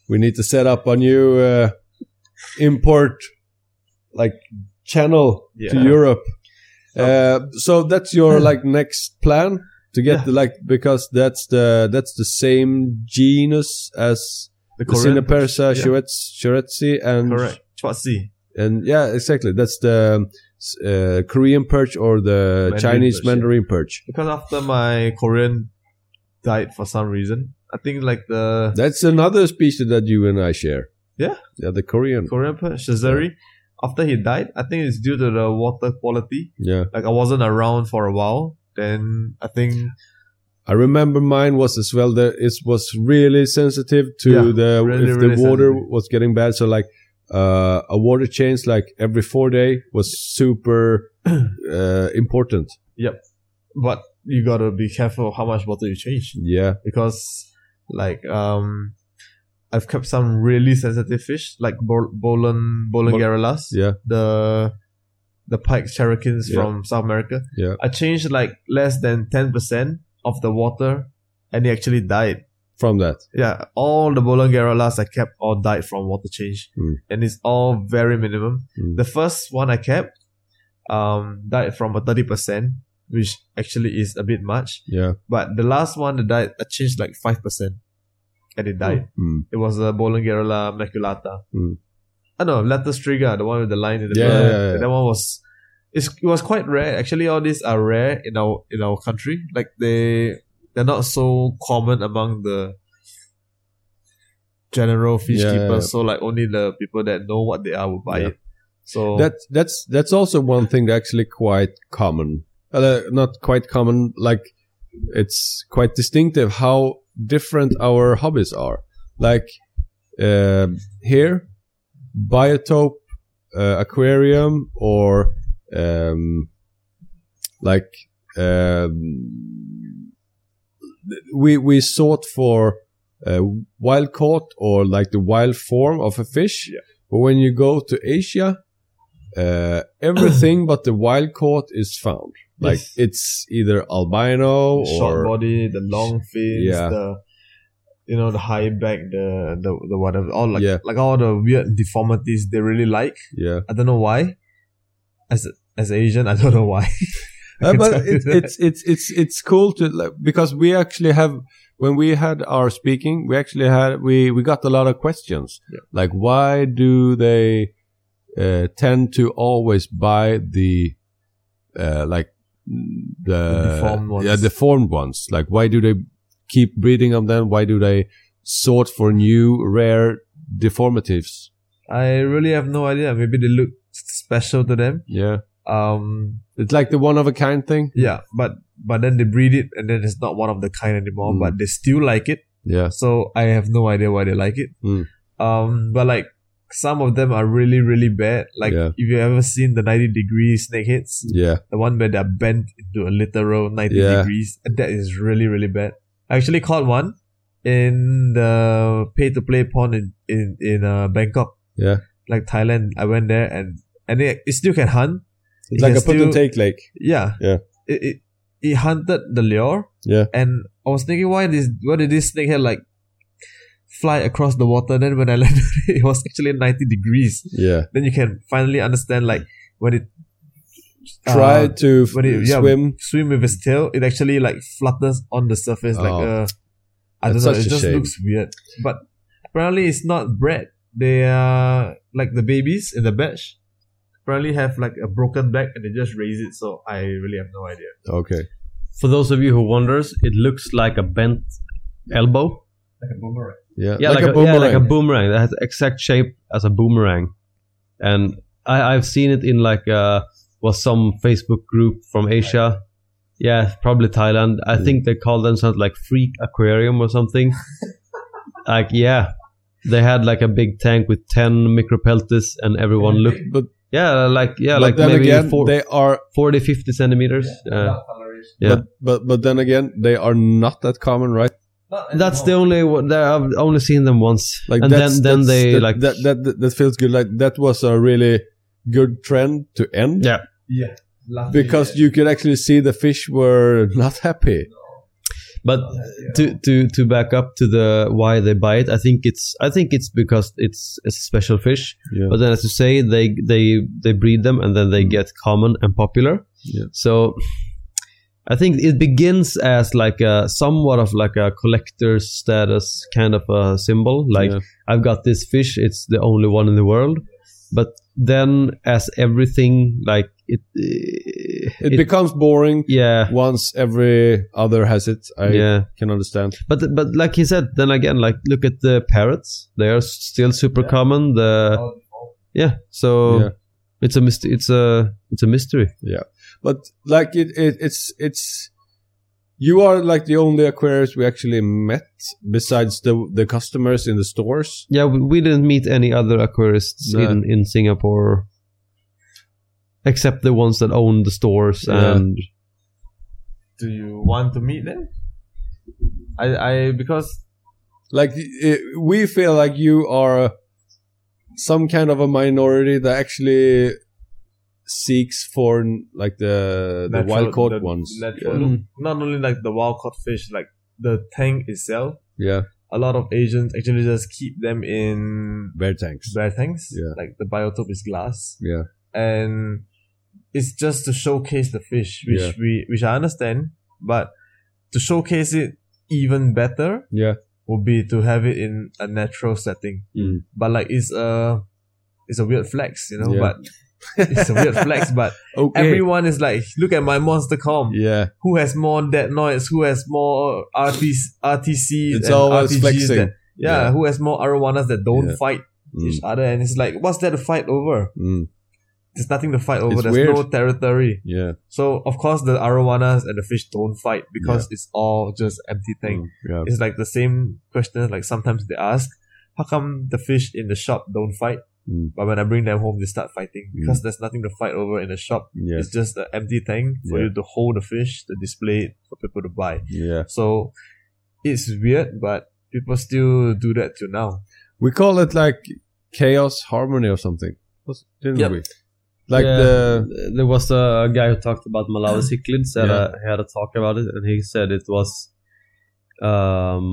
We need to set up a new uh, import like channel to
Yeah. Oh.
Europe. Uh, so that's your like next plan to get
Yeah.
the, like because that's the that's the same genus as
The
the
Korean.
Cinepersa,
yeah.
Shuretsi, and
Correct. Chwazi.
and yeah, exactly. That's the uh, Korean perch or the
Mandarin
Chinese
perch, yeah.
Mandarin perch.
Because after my Korean died for some reason, I think like the
That's another species that you and I share.
Yeah.
yeah, the Korean.
Korean per- Shazari, after he died, I think it's due to the water quality.
Yeah,
Like I wasn't around for a while. Then I think
I remember mine was as well. That it was really sensitive to
Yeah,
the
really,
if
really
the water
sensitive.
was getting bad. So like uh, a water change like every four day was super [CLEARS THROAT] uh, important.
but you gotta be careful how much water you change.
Yeah,
because like um I've kept some really sensitive fish like bol- bolan bolan
Bol-
garrulas,
yeah,
the the pike cherokees
Yeah.
from South America.
Yeah.
I changed like less than ten percent of the water, and they actually died.
from that.
Yeah, all the bolan garrulas I kept all died from water change,
Mm.
and it's all very minimum.
Mm.
The first one I kept um died from a thirty percent, which actually is a bit much.
Yeah,
But the last one that died, I changed like 5%. And it died.
Mm.
It was a Bolongarella maculata.
Mm.
I know, Lattice Trigger, the one with the line in the
Yeah,
middle.
yeah, yeah.
That one was. It's, it was quite rare. Actually, all these are rare in our in our country. Like they they're not so common among the general fish
Yeah, yeah,
keepers.
yeah.
So like only the people that know what they are will buy
Yeah.
it. So
that that's that's also one thing that actually quite common. Uh, not quite common. Like it's quite distinctive how different our hobbies are. Like um here, biotope, uh, aquarium, or um, like um, we we sought for uh, wild caught or like the wild form of a fish.
Yeah.
But when you go to Asia, uh, everything but the wild caught is found. Like
Yes.
it's either albino
the short
or
body, the long fins,
Yeah.
the you know the high back, the the, the whatever, all like
Yeah.
like all the weird deformities they really like.
yeah.
I don't know why. As as Asian, I don't know why. [LAUGHS] I
Uh,
can
but
[LAUGHS] tell you
it's
that.
it's it's it's it's cool to like, because we actually have when we had our speaking, we actually had we we got a lot of questions
Yeah.
like why do they uh, tend to always buy the uh, like mm, the,
deformed ones.
yeah deformed ones like why do they keep breeding on them why do they sort for new rare deformatives
I really have no idea. Maybe they look special to them.
yeah
Um,
it's like the one of a kind thing
yeah, but but then they breed it, and then it's not one of the kind anymore.
Mm.
But they still like it.
yeah
So I have no idea why they like it.
Mm.
Um, but like some of them are really really bad. Like
Yeah.
if you ever seen the ninety degree snakeheads,
yeah
the one where they're bent into a literal ninety
Yeah.
degrees, that is really really bad. I actually caught one in the pay to play pond in in in uh, Bangkok.
Yeah.
like Thailand. I went there and and it, it still can hunt.
it's
It
like
can
a put and
still-
take lake
yeah.
Yeah.
It, it, it hunted the lure.
Yeah.
And I was thinking, why this? Why did this snakehead like fly across the water? Then when I [LAUGHS] landed, it was actually ninety degrees.
yeah
Then you can finally understand like when it uh,
try to
when it- yeah,
swim.
swim with its tail, it actually like flutters on the surface like
Oh.
a. I don't
That's
know.
such
It
a
just
shame.
looks weird. But apparently, it's not bred. They are like the babies in the batch. Apparently, have like a broken back and they just raise it. So I really have no idea.
Okay.
For those of you who wonders, it looks like a bent elbow.
Like a boomerang.
Yeah.
Yeah, like, a, yeah, like a boomerang. That has the exact shape as a boomerang. And I, I've seen it in like uh was some Facebook group from Asia. Yeah, probably Thailand. I
Mm.
think they call themselves like Freak Aquarium or something.
[LAUGHS]
like yeah. They had like a big tank with ten micropeltis and everyone looked
but
yeah, like yeah,
but
like
then
maybe
again,
four,
they are.
40, 50 centimeters. Yeah.
But, but but then again, they are not that common, right?
Not
That's the
anymore.
only one that I've only seen them once.
Like
and
that's-
then then
that's-
they
that,
like
that, that that that feels good. Like that was a really good trend to end.
Yeah.
yeah. Luckily,
Because
yeah.
you could actually see the fish were not happy.
but to to to back up to the why they buy it, I think it's I think it's because it's a special fish.
Yeah.
But then, as you say, they they they breed them and then they get common and popular.
Mm-hmm. Yeah.
So I think it begins as like a somewhat of like a collector's status kind of a symbol. Like
Yeah.
I've got this fish; it's the only one in the world. But then, as everything like it,
it,
it-
becomes boring
yeah
once every other has it. I
yeah.
can understand.
But but like he said, then again, like look at the parrots; they are still super
Yeah.
common. The
Oh,
yeah, so
Yeah.
it's a myst- it's a it's a mystery.
But like it, it it's it's you are like the only aquarius we actually met besides the the customers in the stores.
Yeah, we, we didn't meet any other aquarists
No.
in in Singapore, except the ones that own the stores.
Yeah.
And
do you want to meet them? I I because
Like it, we feel like you are some kind of a minority that actually seeks for like the the
natural-
wild caught
the
ones. Mm.
natural-
Yeah.
Not only like the wild caught fish, like the tank itself.
yeah,
A lot of Asians actually just keep them in
bear tanks.
bear tanks.
Yeah.
Like the biotope is glass.
Yeah.
And it's just to showcase the fish, which
Yeah.
we which I understand, but to showcase it even better
Yeah,
would be to have it in a natural setting.
Mm.
But like it's a it's a weird flex, you know,
Yeah.
but it's a weird flex,
[LAUGHS]
but
okay.
everyone is like, look at my monster com.
yeah,
Who has more dead noise? Who has more RTC? RTCs
It's
and
always
RTGs
flexing.
That, yeah,
Yeah.
who has more arowanas that don't
Yeah.
fight
Mm,
each other? And it's like, what's there to fight over?
mm,
There's nothing to fight over.
It's
There's
weird.
no territory.
yeah.
So of course the arowanas and the fish don't fight because it's all just empty tank.
Mm, yeah.
It's like the same question. Like sometimes they ask, how come the fish in the shop don't fight?
Mm.
But when I bring them home, they start fighting
Mm.
because there's nothing to fight over in the shop.
Yeah.
It's just an empty tank for
Yeah.
you to hold the fish, to display it for people to buy.
Yeah.
So it's weird, but people still do that till now.
We call it like chaos harmony or something. Was- Didn't
Yep.
we? Like
Yeah.
the
there was a guy who talked about Malawi
[GASPS]
cichlids, and
Yeah.
uh, he had a talk about it, and he said it was, um,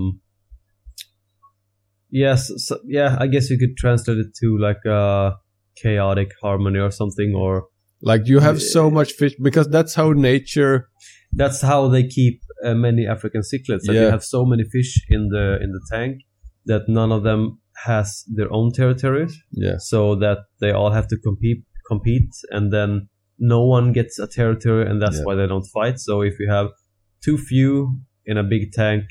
yes, so, yeah, I guess you could translate it to like a chaotic harmony or something, or
like you have so much fish because that's how nature
that's how they keep uh, many African cichlids. That
Yeah.
They have so many fish in the in the tank that none of them has their own territory,
Yeah.
so that they all have to compete compete, and then no one gets a territory, and that's
Yeah.
why they don't fight. So if you have too few in a big tank,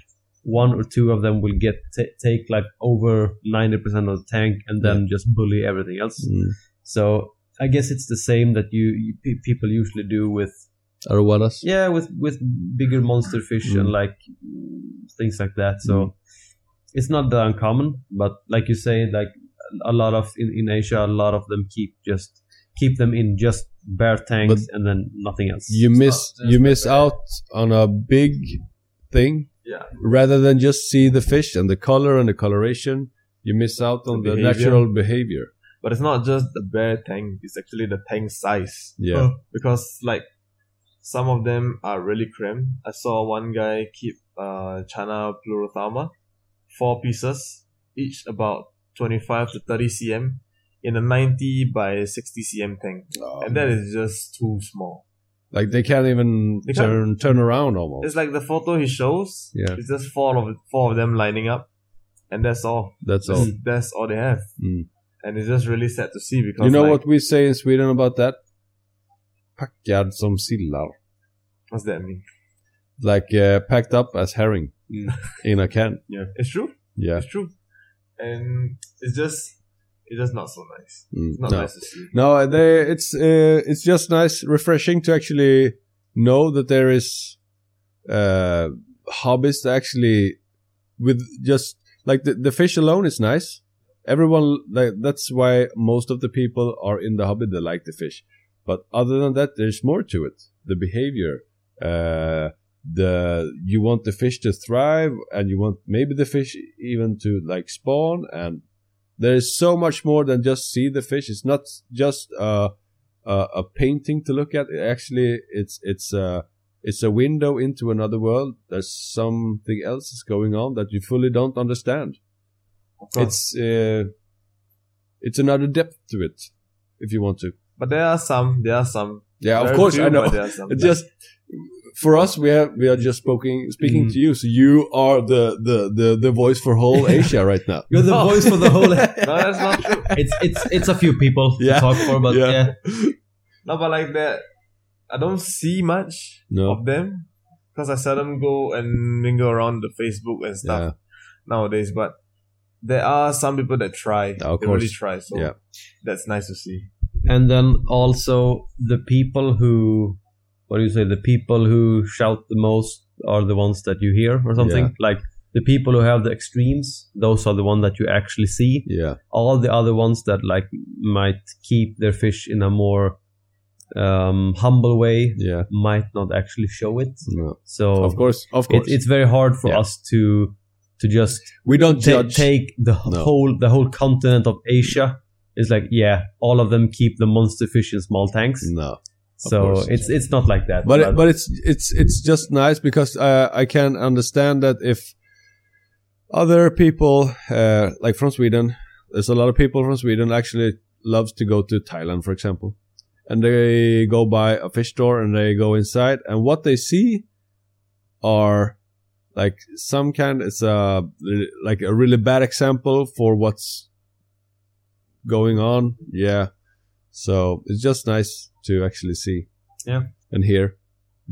one or two of them will get ta- take like over ninety percent of the tank, and then just bully everything else.
Mm.
So I guess it's the same that you, you pe- people usually do with
Arowanas.
yeah with with bigger monster fish
Mm.
and like things like that so it's not that uncommon but like you say like a lot of in, in asia a lot of them keep just keep them in just bare tanks and then nothing else
You miss
not-
you miss out on a big thing
Yeah.
rather than just see the fish and the color and the coloration. You miss out on
The
the,
behavior.
natural behavior.
But it's not just the bare tank, it's actually the tank size.
Yeah.
Uh, Because like some of them are really cramped. I saw one guy keep uh Chana plurothalma, four pieces, each about twenty five to thirty cm in a ninety by sixty cm tank. Oh. And that is just too small.
like they can't even
They can't-
turn turn around almost.
It's like the photo he shows.
Yeah.
It's just four of four of them lining up. And that's all.
That's all.
That's, that's all they have.
Mm.
And it's just really sad to see because
You know
like,
what we say in Sweden about that? Packad som sillar.
what's that mean?
Like uh, packed up as herring
Mm.
in a can.
Yeah. It's true.
Yeah.
It's true. And it's just it's just not so nice.
Mm,
It's not
no.
nice to see.
No, they, it's uh, it's just nice, refreshing to actually know that there is uh, hobbies that actually with just like the, the fish alone is nice. Everyone like that's why most of the people are in the hobby. They like the fish, but other than that, there's more to it. The behavior, uh, the you want the fish to thrive and you want maybe the fish even to like spawn and there is so much more than just see the fish it's not just uh, a a painting to look at actually it's it's uh it's a window into another world there's something else is going on that you fully don't understand it's uh, it's another depth to it if you want to
but there are some. There are some.
yeah of
Very
course
few,
i know [LAUGHS]
but There are some
It's just for us we have we are just speaking speaking
Mm.
to you so you are the the the, the voice for whole asia right now
You're the
[LAUGHS]
No.
voice for the whole.
no, that's not true.
it's it's it's a few people
Yeah.
to talk for, but
Yeah.
yeah.
No, but like that, I don't see much
No.
of them because I seldom go and mingle around the Facebook and stuff
Yeah.
nowadays. But there are some people that try.
Yeah, of
they really
course.
try. So
Yeah.
that's nice to see.
and then also the people who what do you say the people who shout the most are the ones that you hear or something like the people who have the extremes those are the ones that you actually see
yeah
all the other ones that like might keep their fish in a more um, humble way
yeah
might not actually show it
no.
so
of course of
it,
course
it's very hard for
Yeah.
us to to just
we don't
ta-
judge
take the h-
No.
whole the whole continent of Asia. It's like yeah, all of them keep the monster fish in small tanks.
no
so
Mm, course.
it's it's not like that.
but it, but it's it's it's just nice because uh, I can understand that if other people uh, like from Sweden, there's a lot of people from Sweden actually loves to go to Thailand, for example, and they go by a fish store and they go inside and what they see are like some kind it's a like a really bad example for what's going on yeah so it's just nice to actually see and hear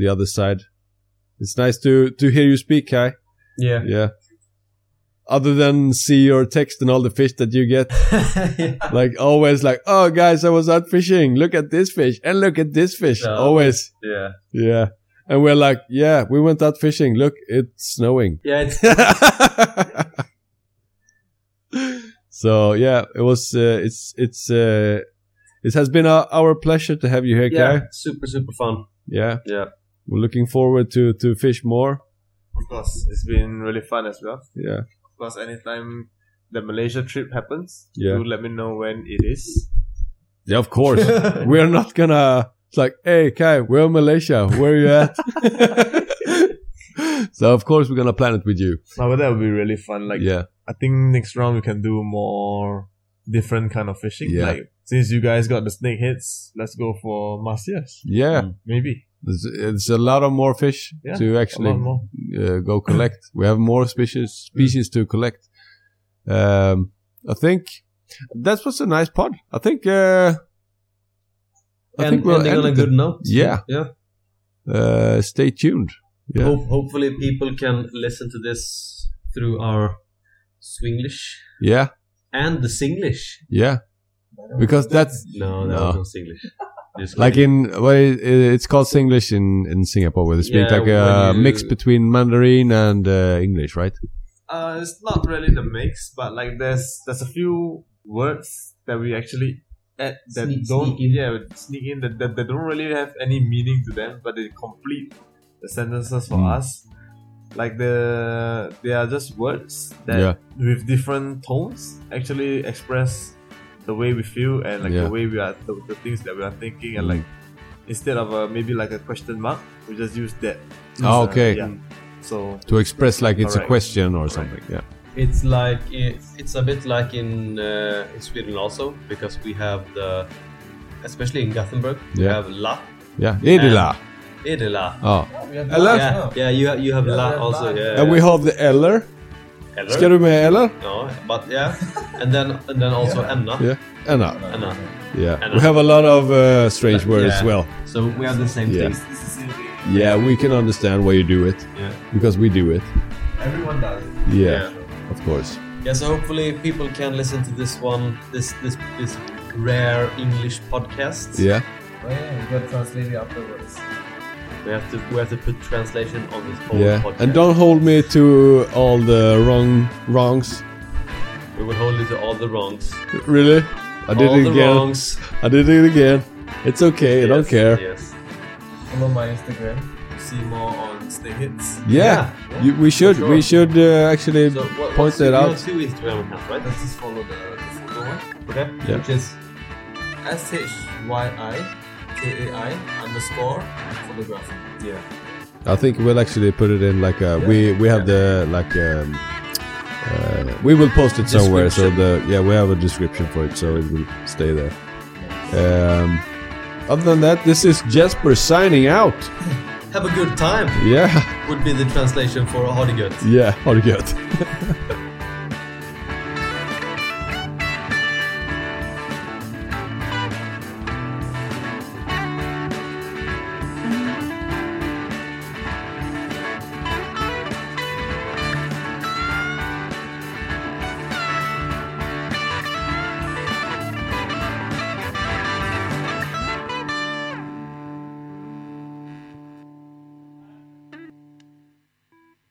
the other side. It's nice to to hear you speak, Kai.
yeah.
Yeah. Other than see your text and all the fish that you get, like always, like oh guys, I was out fishing. Look at this fish and look at this fish.
Yeah.
Always,
[LAUGHS] yeah,
yeah. And we're like, yeah, we went out fishing. Look, it's snowing. [LAUGHS]
yeah, it's
so yeah, it was. Uh, it's it's. Uh, it has been our, our pleasure to have you here,
yeah,
Kai.
super super fun.
Yeah,
Yeah.
We're looking forward to to fish more.
Of course, it's been really fun as well.
Yeah.
Of course, anytime the Malaysia trip happens,
Yeah.
do let me know when it is.
Yeah, of course.
[LAUGHS]
[LAUGHS]
we're not gonna. It's like, hey, Kai, we're in Malaysia. Where you
[LAUGHS]
at? so of course we're gonna plan it with you.
No, but that would be really fun. Like
yeah,
I think next round we can do more different kind of fishing.
Yeah.
Like since you guys got the snake hits, let's go for masters.
yeah.
Mm.
Maybe.
There's, it's a lot of more fish
Yeah,
to
A
actually
lot more.
uh, go collect. we have more species
Mm.
species to collect. Um, I think that was a nice pod. I think. Uh, I
and
we'll
ending on a
end
good note.
Yeah.
yeah.
it. Uh, stay tuned. Yeah.
Hope, hopefully, people can listen to this through our Swinglish
Yeah.
and the Singlish.
Yeah. Because that's
No, that
No.
was not
[LAUGHS]
Singlish. Just
like in what is, it's called Singlish in in Singapore, where they speak
Yeah,
like a
when you-
mix between Mandarin and uh, English, right?
Uh it's not really the mix, but like there's there's a few words that we actually add that
Sneak-
don't
sneak in.
yeah sneak in that, that, that don't really have any meaning to them, but they complete the sentences for
Mm.
us. Like the they are just words that
Yeah,
with different tones actually express the way we feel and like
Yeah. Mm.
the way we are the, the things that we are thinking and like instead of a, maybe like a question mark we just use that
Ah,
As a-
okay.
yeah. so
to express like it's a
Correct.
question or something. Yeah,
It's like it's, it's a bit like in uh, in Sweden also because we have the especially in Gothenburg we
Yeah.
have la
yeah. Idila.
edela.
Oh.
Yeah, yeah, you have you have la also. Yeah,
And we have the eller.
Eller?
Ska du med eller?
No, but yeah, and then and then also enna.
Yeah. Anna.
Enna.
Yeah.
Enna.
We have a lot of uh, strange
Yeah.
words as well.
So we have the same
Yeah.
thing.
Yeah, we can understand why you do it
Yeah.
because we do it.
everyone does it
Yeah, of course.
Yeah, so hopefully people can listen to this one, this this this rare English podcast.
Yeah.
Oh yeah, we got to translate it afterwards.
We have to we have to put translation on this whole
Yeah.
podcast.
And don't hold me to all the wrong wrongs.
we will hold you to all the wrongs.
Really? I did
all
it
the
again.
wrongs.
I did it again. It's okay. I don't
Yes,
care.
Yes.
Follow my Instagram.
see more on snake hits.
Yeah,
yeah.
You, we should
sure.
we should uh, actually
So what,
point
what's
that
your- you
out.
have two Instagram accounts, right?
Let's just follow the, the photo one.
Okay.
Yeah.
Which is
S H Y I K A I underscore photography.
yeah.
I think we'll actually put it in like uh we we have the like um, uh, we will post it somewhere. So the yeah we have a description for it, so it will stay there. Um, other than that, this is Jesper signing out. [LAUGHS]
Have a good time
Yeah,
would be the translation for a hardy good.
yeah, har det gött.